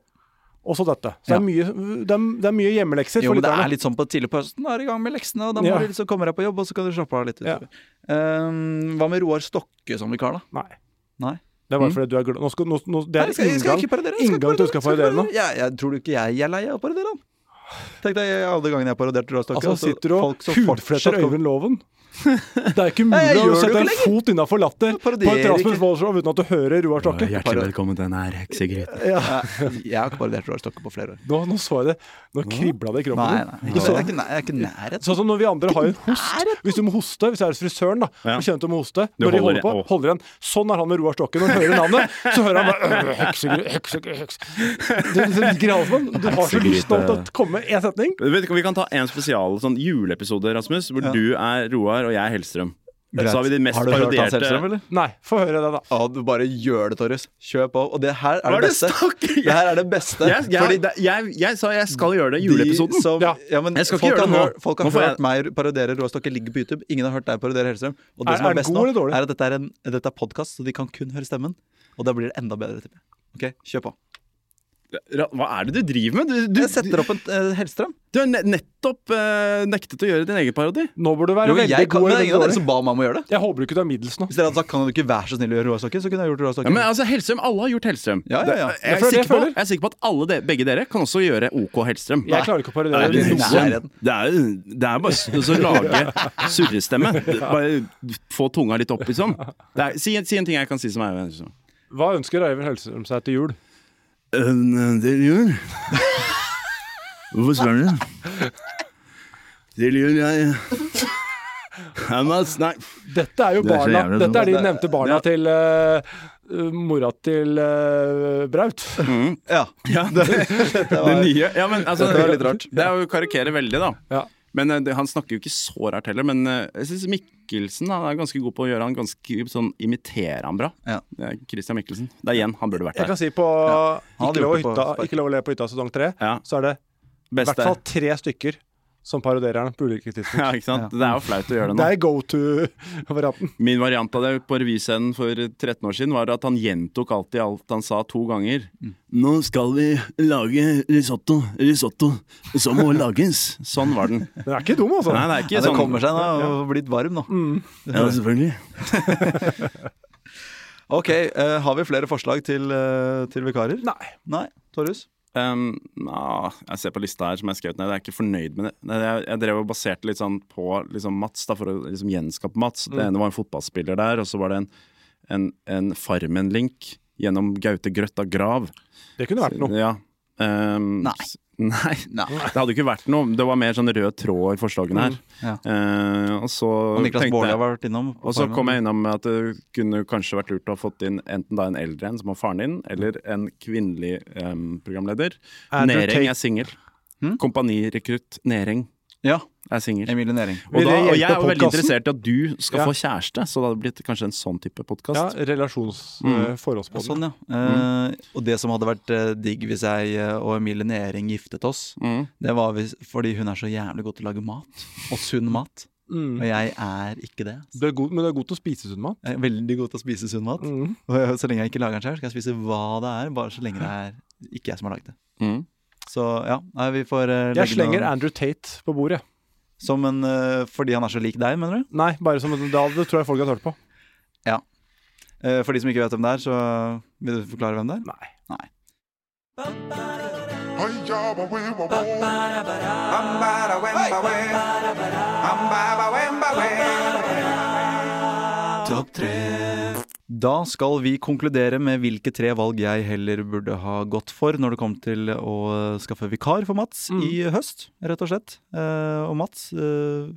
Speaker 3: Og så dette. Så det,
Speaker 2: Ja.
Speaker 3: er mye, det, er, det er mye hjemmelekser
Speaker 2: Jo,
Speaker 3: for
Speaker 2: men det er
Speaker 3: lytterne.
Speaker 2: litt sånn på tidlig på høsten. Da er du i gang med leksene, og da må
Speaker 3: Ja.
Speaker 2: du, så kommer jeg på jobb, og så kan du slappe av litt.
Speaker 3: Ja.
Speaker 2: utover. Ehm, hva med Roar Stokke som vikar, da?
Speaker 3: Nei.
Speaker 2: Nei.
Speaker 3: Det er bare fordi du er glad nå skal, nå, nå, Det
Speaker 2: Mm. Nei,
Speaker 3: er
Speaker 2: jeg skal, jeg skal
Speaker 3: inngang.
Speaker 2: ikke parodere. jeg skal ikke
Speaker 3: inngang til å skal
Speaker 2: jeg skal ikke
Speaker 3: parodere nå.
Speaker 2: Jeg, jeg tror du ikke jeg, jeg er lei av å parodere han? Tenk deg alle gangene jeg paroderte Rørstokken.
Speaker 3: Altså, sitter du og hudfletter Øyvind Loven? Det er ikke
Speaker 2: Nei, jeg gjør det
Speaker 3: mulig å
Speaker 2: jo
Speaker 3: sette
Speaker 2: ikke
Speaker 3: en fot innafor latter
Speaker 2: Jeg
Speaker 3: på
Speaker 2: parodierer
Speaker 3: et Rasmus
Speaker 2: ikke.
Speaker 3: Wold-show uten at du hører Roar Stokke.
Speaker 2: Bare-
Speaker 4: Hjertelig velkommen til denne heksegryten.
Speaker 2: Jeg har ikke parodert Rørstokken på flere år.
Speaker 3: Nå, nå så jeg det. Nå kribla det i kroppen.
Speaker 2: Nei,
Speaker 3: din.
Speaker 2: nei,
Speaker 3: Du
Speaker 2: ikke,
Speaker 3: så-
Speaker 2: det er ikke, nei, jeg er ikke nærhet.
Speaker 3: Sånn som når vi andre har en host. Hvis du må hoste, hvis jeg er hos frisøren da,
Speaker 4: Ja.
Speaker 3: og kjenner til å må hoste,
Speaker 4: Du
Speaker 3: når de holder
Speaker 4: holder
Speaker 3: på,
Speaker 4: igjen. Å.
Speaker 3: holder igjen. Sånn er han med Roar Stokken. Når han hører navnet, så hører han bare «Øh, Heksegry, heksegry, heks... Det, det ligger i halsen. Du har så lyst til å
Speaker 2: øh.
Speaker 4: Heksegryte.
Speaker 3: komme med én setning.
Speaker 4: Eh, Vet du, hva, vi kan ta en spesial sånn juleepisode, Rasmus, hvor du er Roar og jeg er Hellstrøm.
Speaker 2: Greit.
Speaker 4: Så har vi de mest
Speaker 2: Har du hørt Hans
Speaker 4: parodierte
Speaker 2: Hellstrøm, eller?
Speaker 3: Nei, få høre det, da.
Speaker 2: Ja, du bare gjør det, Torjus. Kjør på. Og det her er
Speaker 4: Hva
Speaker 2: det
Speaker 4: er det
Speaker 2: beste.
Speaker 4: snakker jeg-
Speaker 2: Det her er det beste.
Speaker 4: jeg, jeg,
Speaker 2: Fordi
Speaker 4: det- jeg, jeg sa jeg skal gjøre det i
Speaker 2: de
Speaker 4: juleepisoden.
Speaker 2: som, ja.
Speaker 3: Ja.
Speaker 2: men
Speaker 4: Jeg skal ikke
Speaker 2: folk,
Speaker 4: gjøre
Speaker 2: har
Speaker 4: det nå.
Speaker 2: hørt, folk har
Speaker 4: Nå får jeg-
Speaker 2: hørt meg parodiere Råstokke ligge på YouTube. Ingen har hørt deg parodiere Hellstrøm. Og det
Speaker 3: Er-
Speaker 2: som
Speaker 3: er
Speaker 2: er
Speaker 3: den
Speaker 2: best
Speaker 3: god
Speaker 2: nå,
Speaker 3: eller dårlig?
Speaker 2: er at dette er, en, dette er podkast, så de kan kun høre stemmen. Og da blir det enda bedre, tipper jeg. Ok, kjør på.
Speaker 4: Ra- Hva er det du driver med? Du, du,
Speaker 2: Jeg setter opp en eh, Hellstrøm.
Speaker 4: du har ne nettopp eh, nektet å gjøre din egen parodi.
Speaker 3: Nå burde du være
Speaker 2: Jo, men
Speaker 3: veldig
Speaker 2: jeg kan,
Speaker 3: god
Speaker 2: men det
Speaker 3: eller
Speaker 2: er ingen av dere
Speaker 3: veldig dårlig.
Speaker 2: som ba meg om å gjøre det.
Speaker 3: Jeg håper ikke du er middels nå.
Speaker 2: Hvis dere hadde sagt 'kan du ikke være så snill å gjøre Råstokke', så kunne jeg gjort
Speaker 4: Ja, men
Speaker 2: Råstokke.
Speaker 4: altså, Hellstrøm, Alle har gjort Hellstrøm.
Speaker 2: Ja, ja, ja.
Speaker 4: Det-
Speaker 3: Det
Speaker 4: Jeg,
Speaker 3: er det
Speaker 4: er
Speaker 3: jeg
Speaker 4: sikker på,
Speaker 3: føler.
Speaker 4: jeg er sikker på at alle de, begge dere kan også gjøre OK Hellstrøm.
Speaker 3: Jeg klarer ikke å parodiere
Speaker 2: det er
Speaker 3: noen.
Speaker 2: litt
Speaker 4: noen-
Speaker 2: nærheten.
Speaker 4: det er, det er bare s- altså, å lage surrestemme. Det- Bare få tunga litt oppi sånn. Det er, si, en- si en ting jeg kan si som er Hellstrøm.
Speaker 3: Hva ønsker Øyvind Hellstrøm seg til jul?
Speaker 4: Til Øh, jul Hvorfor spør du? Til jul, jeg Jeg må snakke
Speaker 3: Dette er jo
Speaker 4: Det er så
Speaker 3: barna
Speaker 4: jævlig sånn.
Speaker 3: Dette er de
Speaker 2: dumt.
Speaker 3: nevnte barna til eh, mora til eh, Braut.
Speaker 2: Ja.
Speaker 4: Ja, det, det nye ja, men, altså,
Speaker 2: Dette var litt rart.
Speaker 4: Det er jo å karikere veldig, da.
Speaker 3: Ja.
Speaker 4: Men eh, det, han snakker jo ikke så rart heller. Men eh, jeg syns Mikkelsen han er ganske god på å gjøre han ganske sånn imiterer han bra.
Speaker 2: Ja.
Speaker 4: Det er Christian Mikkelsen. Det er igjen, han burde vært
Speaker 3: Jeg kan
Speaker 4: der.
Speaker 3: si på
Speaker 2: Han hadde
Speaker 3: Ikke lov å
Speaker 2: gjort det på
Speaker 3: hytta-
Speaker 2: spark.
Speaker 3: Ikke lov å le på hytta sesong tre,
Speaker 4: Ja,
Speaker 3: så er det I
Speaker 4: best
Speaker 3: hvert fall
Speaker 4: der.
Speaker 3: tre stykker som parodierer den på ulike tidspunkt.
Speaker 4: Ja, ikke sant? Det er jo flaut å gjøre det
Speaker 3: Det
Speaker 4: nå.
Speaker 3: er go to-varianten.
Speaker 4: Min variant av det på revyscenen for 13 år siden var at han gjentok alltid alt han sa to ganger.
Speaker 2: Mm.
Speaker 4: Nå skal vi lage risotto, risotto, som må lages. Sånn var den.
Speaker 3: Den er ikke dum, altså.
Speaker 4: Nei, det er ikke
Speaker 2: Ja, det
Speaker 4: sånn.
Speaker 2: kommer seg nå. Jeg har blitt varm nå.
Speaker 3: Mm.
Speaker 4: Ja, selvfølgelig.
Speaker 2: Ok, eh, har vi flere forslag til, eh, til vikarer?
Speaker 3: Nei.
Speaker 2: Nei, Torjus?
Speaker 4: Um, na, jeg ser på lista her som jeg skrev ned, jeg er ikke fornøyd med det. Nei, Jeg, jeg drev og baserte litt sånn på liksom, Mats, da, for å liksom, gjenskape
Speaker 2: Mm.
Speaker 4: Mats. Det ene var en fotballspiller der, og så var det en, en, en Farmen-link gjennom Gaute Grøtta grav.
Speaker 3: Det kunne vært noe.
Speaker 4: Ja. Um,
Speaker 2: Nei.
Speaker 4: s- Nei.
Speaker 2: Nei.
Speaker 4: Det hadde jo ikke vært noe. Det var mer sånn rød tråd i forslagene her.
Speaker 2: Mm, Ja.
Speaker 4: Eh, og så
Speaker 2: Og Niklas
Speaker 4: tenkte
Speaker 2: Baarli
Speaker 4: jeg-
Speaker 2: har vært innom. på
Speaker 4: og så
Speaker 2: Farmen.
Speaker 4: kom jeg innom at det kunne kanskje vært lurt å ha fått inn enten da en eldre en som var faren din, eller en kvinnelig em, programleder.
Speaker 3: Andrew
Speaker 4: Nering
Speaker 3: Tate.
Speaker 4: er singel.
Speaker 2: Hmm?
Speaker 4: Kompanirekrutt Nering
Speaker 2: Ja,
Speaker 4: er singel.
Speaker 2: Emilie Næring.
Speaker 4: Og,
Speaker 3: Vil
Speaker 4: da,
Speaker 3: det
Speaker 4: og jeg er
Speaker 3: hjelpe
Speaker 4: jo veldig
Speaker 3: podcasten?
Speaker 4: interessert i at du skal
Speaker 3: Ja.
Speaker 4: få kjæreste, så det hadde blitt kanskje en sånn type podkast.
Speaker 3: Ja, relasjons
Speaker 4: Mm.
Speaker 3: eh,
Speaker 2: Ja,
Speaker 3: forholdsbånd.
Speaker 2: sånn, ja. Eh,
Speaker 3: Mm.
Speaker 2: og det som hadde vært eh, digg hvis jeg eh, og Emilie Næring giftet oss,
Speaker 4: Mm.
Speaker 2: det var hvis, fordi hun er så jævlig god til å lage mat. Og sunn mat. Og
Speaker 3: Mm.
Speaker 2: jeg er ikke det.
Speaker 3: Du er god, men du er god til å spise sunn mat.
Speaker 2: Jeg er veldig god til å spise sunn mat.
Speaker 3: Mm.
Speaker 2: Og jeg- så lenge jeg ikke lager den selv, skal jeg spise hva det er, bare så lenge det er ikke jeg som har lagd det.
Speaker 4: Mm.
Speaker 2: Så ja, nei, vi får eh,
Speaker 3: Jeg
Speaker 2: legge
Speaker 3: slenger
Speaker 2: noe
Speaker 3: Andrew Tate på bordet.
Speaker 2: Som en eh, Fordi han er så lik deg, mener du?
Speaker 3: Nei, bare som da det tror jeg folk har hørt på.
Speaker 2: Eh, For de som ikke vet hvem det er, så vil du forklare hvem det er?
Speaker 3: Nei.
Speaker 2: Topp tre. Da skal vi konkludere med hvilke tre valg jeg heller burde ha gått for når det kom til å skaffe vikar for Mats
Speaker 3: Mm.
Speaker 2: i høst, rett og slett. Eh, og Mats, eh,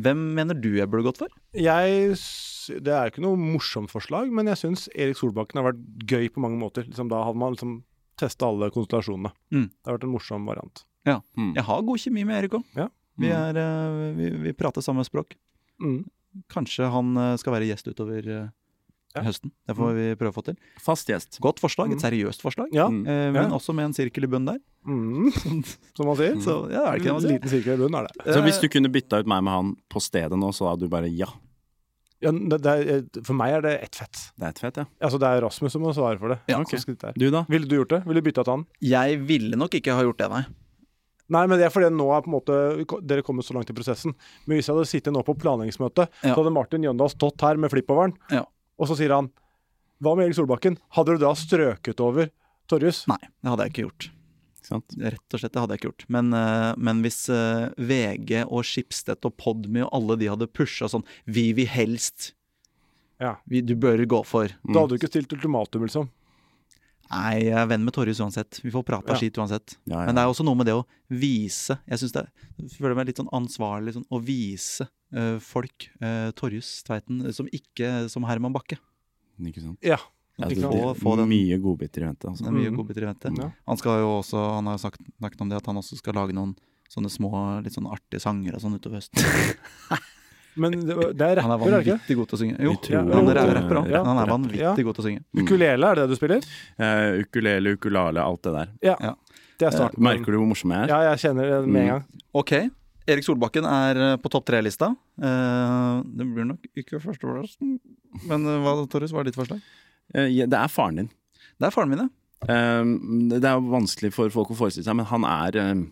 Speaker 2: hvem mener du jeg burde gått for?
Speaker 3: Jeg, s- det er ikke noe morsomt forslag, men jeg syns Erik Solbakken har vært gøy på mange måter. Liksom, da hadde man liksom testa alle konstellasjonene.
Speaker 2: Mm.
Speaker 3: Det har vært en morsom variant.
Speaker 2: Jeg har god kjemi med Erik òg.
Speaker 3: Ja.
Speaker 2: Vi, er, eh, vi, vi prater samme språk.
Speaker 3: Mm.
Speaker 2: Kanskje han eh, skal være gjest utover eh,
Speaker 3: Ja.
Speaker 2: høsten. Det får vi prøve å få til.
Speaker 4: Fast gjest.
Speaker 2: Godt forslag, et
Speaker 3: Mm.
Speaker 2: seriøst forslag.
Speaker 3: Ja.
Speaker 4: Mm.
Speaker 2: Eh, men
Speaker 3: Ja.
Speaker 2: også med en sirkel i bunnen der.
Speaker 3: Mm. Som man sier.
Speaker 2: Så ja, er det ikke det Mm. man sier?
Speaker 3: Liten sirkel i bunnen er det.
Speaker 4: Så
Speaker 2: Eh.
Speaker 4: hvis du kunne bytta ut meg med han på stedet nå, så hadde du bare ja.
Speaker 3: Ja, det, det er, for meg er det ett fett.
Speaker 4: Det er et fett, ja.
Speaker 3: Altså, det er Rasmus som må svare for det.
Speaker 4: Ja, ok.
Speaker 3: Så skritt der.
Speaker 4: Du da?
Speaker 3: Ville du gjort det? Ville du bytta til han?
Speaker 2: Eh, Jeg ville nok ikke ha gjort det, nei.
Speaker 3: Nei, men det er fordi nå er på en måte Dere kommer så langt i prosessen. Men hvis jeg hadde sittet nå på planleggingsmøtet,
Speaker 2: Ja.
Speaker 3: så hadde Martin Jøndal stått her med flippoveren,
Speaker 2: Ja.
Speaker 3: og så sier han Hva med Erik Solbakken? Hadde du da strøket over Torjus?
Speaker 2: Nei, det hadde jeg ikke gjort.
Speaker 4: Ikke sant?
Speaker 2: Rett og slett, det hadde jeg ikke gjort. Men, eh, men hvis eh, VG og Schibsted og Podmy og alle de hadde pusha sånn Vi vil helst.
Speaker 3: Ja.
Speaker 2: Vi, du bør gå for.
Speaker 4: Mm.
Speaker 3: Da hadde du ikke stilt ultimatum, liksom.
Speaker 2: Nei, jeg er venn med Torjus uansett. Vi får prata
Speaker 3: Ja.
Speaker 2: skit uansett.
Speaker 4: Ja, ja.
Speaker 2: Men det er jo også noe med det å vise. Jeg synes det jeg føler meg litt sånn ansvarlig sånn, å vise eh, folk uh, Torjus Tveiten som ikke som Herman Bakke.
Speaker 4: Ikke sant?
Speaker 3: Ja.
Speaker 4: Ja,
Speaker 3: Ikke
Speaker 4: det,
Speaker 3: sant?
Speaker 4: det,
Speaker 2: Få- få den-
Speaker 4: Mye godbiter i
Speaker 2: Det
Speaker 4: vente. Altså.
Speaker 2: er mye
Speaker 3: Mm.
Speaker 2: godbiter i vente.
Speaker 4: Mm.
Speaker 2: Han skal jo også, han har jo sagt, snakket om det at han også skal lage noen sånne små, litt sånn artige sanger og sånn utover høsten.
Speaker 3: Men det, det er
Speaker 2: Han er
Speaker 3: rapper, er det ikke?
Speaker 2: vanvittig god til å synge. Jo,
Speaker 4: Vi tror
Speaker 2: han er
Speaker 3: at,
Speaker 2: ra- rapper
Speaker 3: ja,
Speaker 2: òg. Han er
Speaker 4: rapper.
Speaker 2: vanvittig god til å synge.
Speaker 4: Mm.
Speaker 3: Ukulele, er det det du spiller?
Speaker 4: Eh, ukulele, ukulale, alt det der.
Speaker 3: Ja.
Speaker 2: Ja.
Speaker 3: Det er starten.
Speaker 4: Eh, Merker du hvor morsom jeg er?
Speaker 3: Ja, jeg kjenner det med en gang.
Speaker 2: Ok, Erik Solbakken er eh, på topp tre-lista. Eh, det blir nok ikke førsteplassen. Men eh, hva, Torjus, hva er ditt forslag?
Speaker 4: Eh, ja, det er faren din.
Speaker 2: Det er faren min, ja.
Speaker 4: Eh, det er jo vanskelig for folk å forestille seg, men han er eh,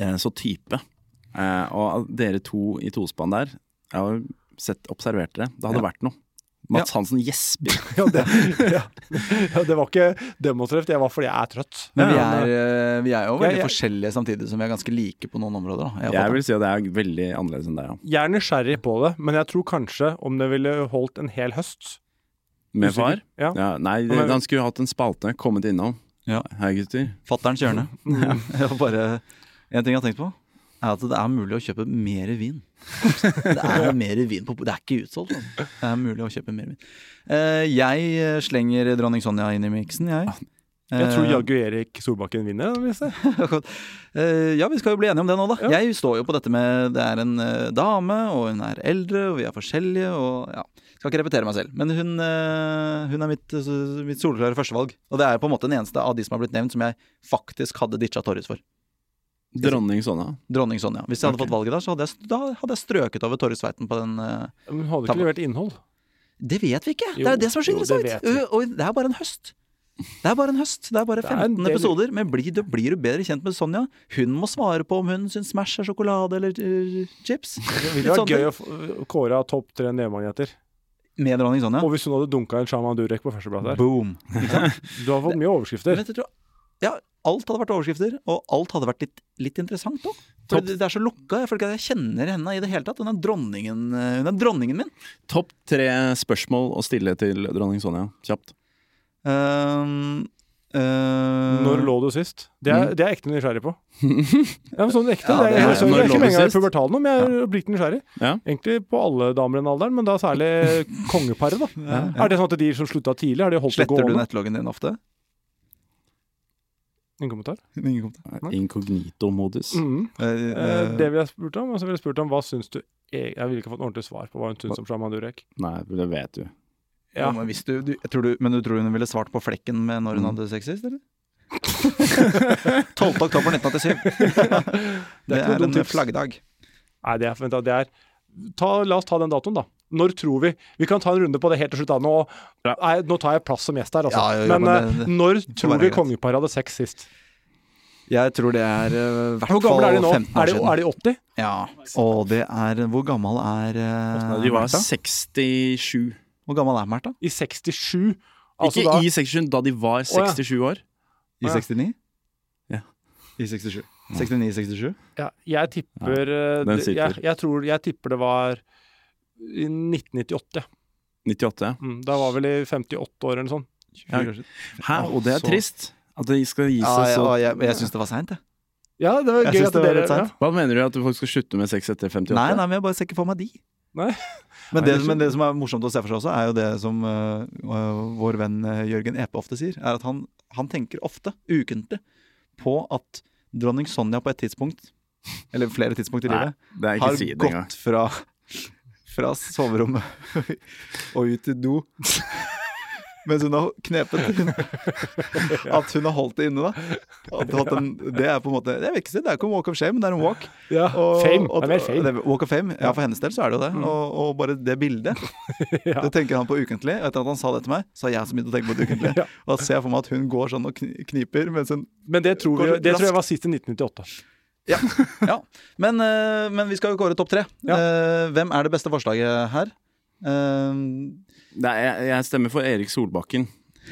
Speaker 4: eh, så type. Eh, og dere to i tospann der, jeg har jo sett, observert dere. Det hadde vært noe. Mats Hansen gjesper.
Speaker 3: Ja, det, ja. Ja, det var ikke demonstrativt, jeg var fordi jeg er trøtt.
Speaker 2: Men vi
Speaker 3: Men,
Speaker 2: er, eh, vi er jo veldig
Speaker 3: Jeg- jeg-
Speaker 2: forskjellige samtidig som vi er ganske like på noen områder. Da. Jeg
Speaker 4: Jeg
Speaker 2: håper.
Speaker 4: vil si at det er veldig annerledes enn deg, ja.
Speaker 3: eh, Jeg er nysgjerrig på det, men jeg tror kanskje om det ville holdt en hel høst
Speaker 4: Med
Speaker 3: Usikker.
Speaker 4: far?
Speaker 3: Ja.
Speaker 4: Ja, nei,
Speaker 3: Men-
Speaker 4: han skulle hatt en spalte, kommet innom.
Speaker 2: Ja.
Speaker 4: Hei, gutter.
Speaker 2: Fatterens hjørne.
Speaker 3: Mm.
Speaker 2: Jeg har bare, en ting jeg har tenkt på, er at det er mulig å kjøpe mer vin. Det er mer vin på Det er ikke utsolgt. Altså. Det er mulig å kjøpe mer vin. Eh, jeg eh, slenger dronning Sonja inn i miksen, jeg.
Speaker 3: Ah, Jeg tror
Speaker 2: Eh,
Speaker 3: jaggu Erik Solbakken vinner. Lise.
Speaker 2: Akkurat. Eh, ja, vi skal jo bli enige om det nå, da. Jeg står jo på dette med det er en eh, dame, og hun er eldre, og vi er forskjellige, og ja. Skal ikke repetere meg selv. Men hun, eh, hun er mitt, eh, mitt soleklare førstevalg. Og det er på en måte den eneste av de som har blitt nevnt, som jeg faktisk hadde ditcha Torjus for.
Speaker 4: Dronning Sonja.
Speaker 2: Dronning Sonja. Hvis jeg hadde
Speaker 4: Ok.
Speaker 2: fått valget der, så hadde jeg, da hadde jeg strøket over Torjus Tveiten på den eh,
Speaker 3: Men hun hadde ikke
Speaker 2: Takk.
Speaker 3: levert innhold.
Speaker 2: Det vet vi ikke!
Speaker 3: Jo,
Speaker 2: det er jo det som er så
Speaker 3: jo, det
Speaker 2: interessant!
Speaker 3: vet vi.
Speaker 2: Ø, Og det er bare en høst. Det er bare en høst. Det er bare
Speaker 3: Det er
Speaker 2: 15
Speaker 3: en del-
Speaker 2: episoder. Men blir du, blir du bedre kjent med Sonja? Hun må svare på om hun syns Smash er sjokolade eller ø, chips.
Speaker 3: Det ville
Speaker 2: Litt
Speaker 3: vært
Speaker 2: sånn
Speaker 3: gøy å få- kåre av topp tre nevemagneter.
Speaker 2: Med dronning Sonja.
Speaker 3: Og hvis hun hadde dunka en Shaman Durek på førsteplass der
Speaker 2: Boom.
Speaker 3: Du har fått mye overskrifter.
Speaker 2: Men jeg tror, ja, alt hadde vært overskrifter, og alt hadde vært litt, litt interessant òg.
Speaker 4: Topp.
Speaker 2: Det det er så lukka. Jeg føler ikke at jeg kjenner henne i det hele tatt. Hun er dronningen, ø, hun er dronningen min.
Speaker 4: Topp tre spørsmål å stille til dronning Sonja, kjapt.
Speaker 2: Ehm, eh, ø,
Speaker 3: Når lå du sist? Det er,
Speaker 4: Mm.
Speaker 3: det er jeg ekte nysgjerrig på. ja, men sånn ekte.
Speaker 2: Ja, det er-
Speaker 3: det er, jeg, jeg, jeg, er
Speaker 4: når lå
Speaker 3: ikke med
Speaker 4: du
Speaker 3: en gang i
Speaker 4: sist?
Speaker 3: pubertalen, men jeg er blitt nysgjerrig.
Speaker 4: Ja.
Speaker 3: Egentlig på alle damer i den alderen, men da særlig kongeparet, da. Er det sånn at de som slutta tidlig, har de holdt det
Speaker 2: Sletter du
Speaker 3: gående?
Speaker 2: nettloggen din ofte?
Speaker 3: Ingen kommentar?
Speaker 2: Ingen kommentar.
Speaker 4: Inkognito-modus.
Speaker 3: Mm.
Speaker 2: Ø,
Speaker 3: Eh,
Speaker 2: ø,
Speaker 3: det ville jeg spurt om, og så ville jeg spurt om hva syns du e- Jeg ville ikke fått noe ordentlig svar på hva hun syns om Shaman Durek.
Speaker 4: Nei, det vet
Speaker 2: Eh,
Speaker 4: du.
Speaker 3: Ja.
Speaker 2: Ja. men, hvis du, du, jeg tror du, men du tror hun ville svart på flekken med når hun
Speaker 4: Mm.
Speaker 2: hadde sex sist, eller? 12. oktober 1987.
Speaker 3: Det
Speaker 2: Det
Speaker 3: er ikke noe
Speaker 2: er
Speaker 3: dumt
Speaker 2: en
Speaker 3: tips.
Speaker 2: flaggdag.
Speaker 3: Nei, det er, vent, da, det er ta, La oss ta den datoen, da. Når tror vi Vi kan ta en runde på det helt til slutt. Da. Nå,
Speaker 4: Ja.
Speaker 3: nei, nå tar jeg plass som gjest her, altså.
Speaker 2: Ja, jo, jo,
Speaker 3: men
Speaker 2: men
Speaker 3: eh,
Speaker 2: det-
Speaker 3: når tror
Speaker 2: være
Speaker 3: vi
Speaker 2: greit.
Speaker 3: kongeparet hadde sex sist?
Speaker 2: Jeg tror det er i hvert
Speaker 3: Hvor gamle er de
Speaker 2: fall
Speaker 3: nå?
Speaker 2: 15 år
Speaker 3: Er de,
Speaker 2: siden.
Speaker 3: er de 80?
Speaker 2: Ja. Og det er Hvor gammel er eh,
Speaker 4: De var
Speaker 2: Märtha?
Speaker 4: 67.
Speaker 2: Hvor gammel er Märtha?
Speaker 3: I 67? Altså
Speaker 4: ikke
Speaker 3: da,
Speaker 4: i 67, da de var
Speaker 3: ja.
Speaker 4: 67 år.
Speaker 2: I
Speaker 3: Ja.
Speaker 2: 69?
Speaker 4: Ja.
Speaker 2: I 67. 69-67?
Speaker 3: ja, jeg tipper eh,
Speaker 4: den
Speaker 3: det- jeg,
Speaker 4: sitter.
Speaker 3: jeg, tror, jeg tipper det var i 1998. ja.
Speaker 4: 98.
Speaker 3: Mm, da var vel i 58 år eller noe sånt.
Speaker 4: Ja. Hæ, og det er
Speaker 2: Så-
Speaker 4: trist. At de skal gi
Speaker 2: Ja,
Speaker 4: seg
Speaker 2: jeg,
Speaker 4: så
Speaker 2: og jeg, jeg syns det var seint, jeg.
Speaker 3: Ja, det var
Speaker 2: Jeg
Speaker 3: gøy
Speaker 2: synes
Speaker 3: at
Speaker 2: det var
Speaker 3: dere
Speaker 2: litt seint.
Speaker 4: Hva mener du at folk skal slutte med sex etter 58?
Speaker 2: Nei, nei, men jeg bare ser ikke for meg de. Men,
Speaker 3: Nei.
Speaker 4: Nei,
Speaker 2: det,
Speaker 4: det er
Speaker 2: men det som er morsomt å se for seg også, er jo det som øh, øh, vår venn øh, Jørgen Epe ofte sier, er at han, han tenker ofte, ukentlig, på at dronning Sonja på et tidspunkt, eller flere tidspunkt i
Speaker 4: Nei,
Speaker 2: livet,
Speaker 4: det er ikke
Speaker 2: har
Speaker 4: si det engang.
Speaker 2: gått fra, fra soverommet og ut i do. Mens hun har knepet inn. At hun har holdt det inne, da. At, at den, det er på en måte Jeg vil ikke si det er ikke en walk of shame, men det er en walk.
Speaker 3: Ja,
Speaker 2: Og-
Speaker 3: fame.
Speaker 2: og-
Speaker 3: det er mer fame. Mm.
Speaker 2: det- Walk of Fame. Ja, for hennes del så er det jo det. Og, og bare det bildet.
Speaker 3: Ja.
Speaker 2: Det tenker han på ukentlig. Etter at han sa det til meg, så har jeg så mye å tenke på det ukentlig.
Speaker 3: Ja.
Speaker 2: Og da ser jeg for meg at hun går sånn og kni- kniper mens hun
Speaker 3: Men det tror, vi,
Speaker 2: Går
Speaker 3: det tror
Speaker 2: raskt.
Speaker 3: jeg var sist i 1998.
Speaker 2: Ja. ja. Men, eh, men vi skal jo kåre topp tre.
Speaker 3: Ja.
Speaker 2: Eh, hvem er det beste forslaget her? Eh,
Speaker 4: Nei, jeg, jeg stemmer for Erik Solbakken.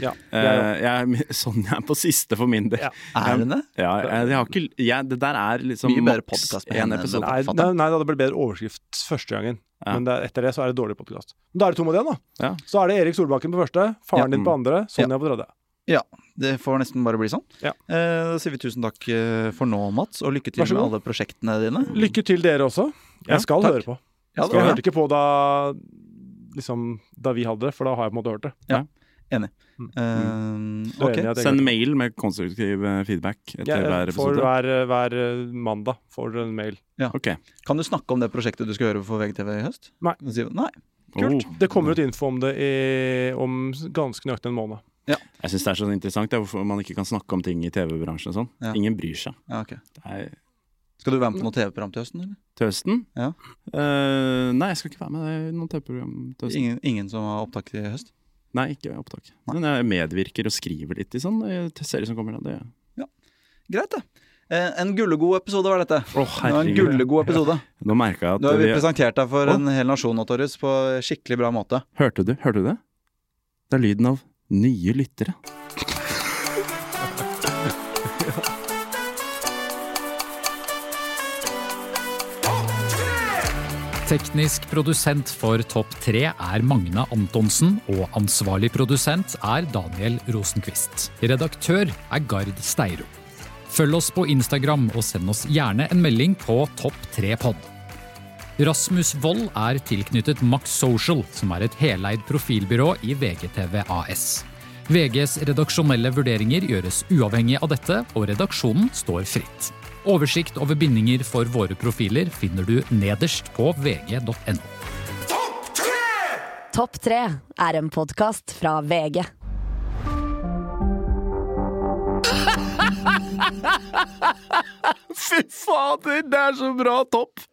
Speaker 3: Ja,
Speaker 4: Eh, jeg, er- sånn jeg er på siste for min del.
Speaker 3: Ja.
Speaker 2: Er den det?
Speaker 4: Ja, jeg, jeg har ikke, jeg, det der er liksom
Speaker 2: Mye bedre
Speaker 4: maks
Speaker 2: podcast med
Speaker 4: en
Speaker 2: henne enn
Speaker 4: episode.
Speaker 3: Nei,
Speaker 2: Fatter.
Speaker 3: nei, nei, det hadde blitt bedre overskrift første gangen.
Speaker 4: Ja.
Speaker 3: Men det, er- etter det så er det dårlig podkast. Da er det to mot én, da.
Speaker 4: Ja.
Speaker 3: Så er det Erik Solbakken på første,
Speaker 2: Ja.
Speaker 3: faren din på andre, Sonja på tredje.
Speaker 2: Det får nesten bare bli sånn.
Speaker 3: Ja.
Speaker 2: Eh, da sier vi tusen takk eh, for nå, Mats, og lykke til
Speaker 3: Vær så
Speaker 2: med
Speaker 3: god.
Speaker 2: alle prosjektene dine.
Speaker 3: Lykke til dere også.
Speaker 2: Ja,
Speaker 3: Jeg skal
Speaker 2: takk.
Speaker 3: høre på.
Speaker 2: Ja, det
Speaker 3: jeg
Speaker 2: var
Speaker 3: hørte ikke på da, liksom, da vi hadde det, for da har jeg på en måte hørt det.
Speaker 2: Eh,
Speaker 3: Mm. Så er
Speaker 2: ok.
Speaker 3: jeg enig i at jeg
Speaker 4: Send
Speaker 3: hørte.
Speaker 4: mail med konstruktiv eh, feedback etter
Speaker 3: Ja,
Speaker 4: hver
Speaker 3: jeg får
Speaker 4: episode.
Speaker 3: hver, hver eh, mandag får dere en mail.
Speaker 4: Ok.
Speaker 2: Kan du snakke om det prosjektet du skal gjøre for VGTV i høst?
Speaker 3: Nei.
Speaker 2: Kan du si- Nei.
Speaker 3: Kult.
Speaker 4: Oh.
Speaker 3: Det kommer ut info om det i, om ganske nøyaktig en måned.
Speaker 4: Jeg syns det er så interessant det, er hvorfor man ikke kan snakke om ting i TV-bransjen og sånn.
Speaker 2: Ja.
Speaker 4: Ingen bryr seg.
Speaker 2: Ja, ok.
Speaker 4: Det er
Speaker 2: Skal du være med på noe TV-program til høsten? eller?
Speaker 4: til høsten.
Speaker 2: Ja.
Speaker 4: Eh, nei, jeg skal ikke være med i noe TV-program til høsten.
Speaker 2: Ingen, ingen som har opptak til høst?
Speaker 4: Nei, ikke opptak. Men jeg medvirker og skriver litt i sånn eh, til serier som kommer. da. Det,
Speaker 2: Greit, det. Eh, en gullegod episode var dette. Det var en
Speaker 4: herregud.
Speaker 2: gullegod episode.
Speaker 4: Nå merka jeg
Speaker 2: Nå har
Speaker 4: at
Speaker 2: vi
Speaker 4: vi
Speaker 2: presentert deg for en hel nasjon nå, Torjus, på skikkelig bra måte.
Speaker 4: Hørte du? Hørte du det? Det er lyden av nye lyttere.
Speaker 5: Teknisk produsent for Topp 3 er Magne Antonsen, og ansvarlig produsent er Daniel Rosenquist. Redaktør er Gard Steiro. Følg oss på Instagram og send oss gjerne en melding på Topp 3pod. Rasmus Wold er tilknyttet Max Social, som er et heleid profilbyrå i VGTV AS. VGs redaksjonelle vurderinger gjøres uavhengig av dette, og redaksjonen står fritt. Oversikt over bindinger for våre profiler finner du nederst på vg.no.
Speaker 1: Topp tre er en podkast fra VG.
Speaker 4: Fy fader, det er så bra topp!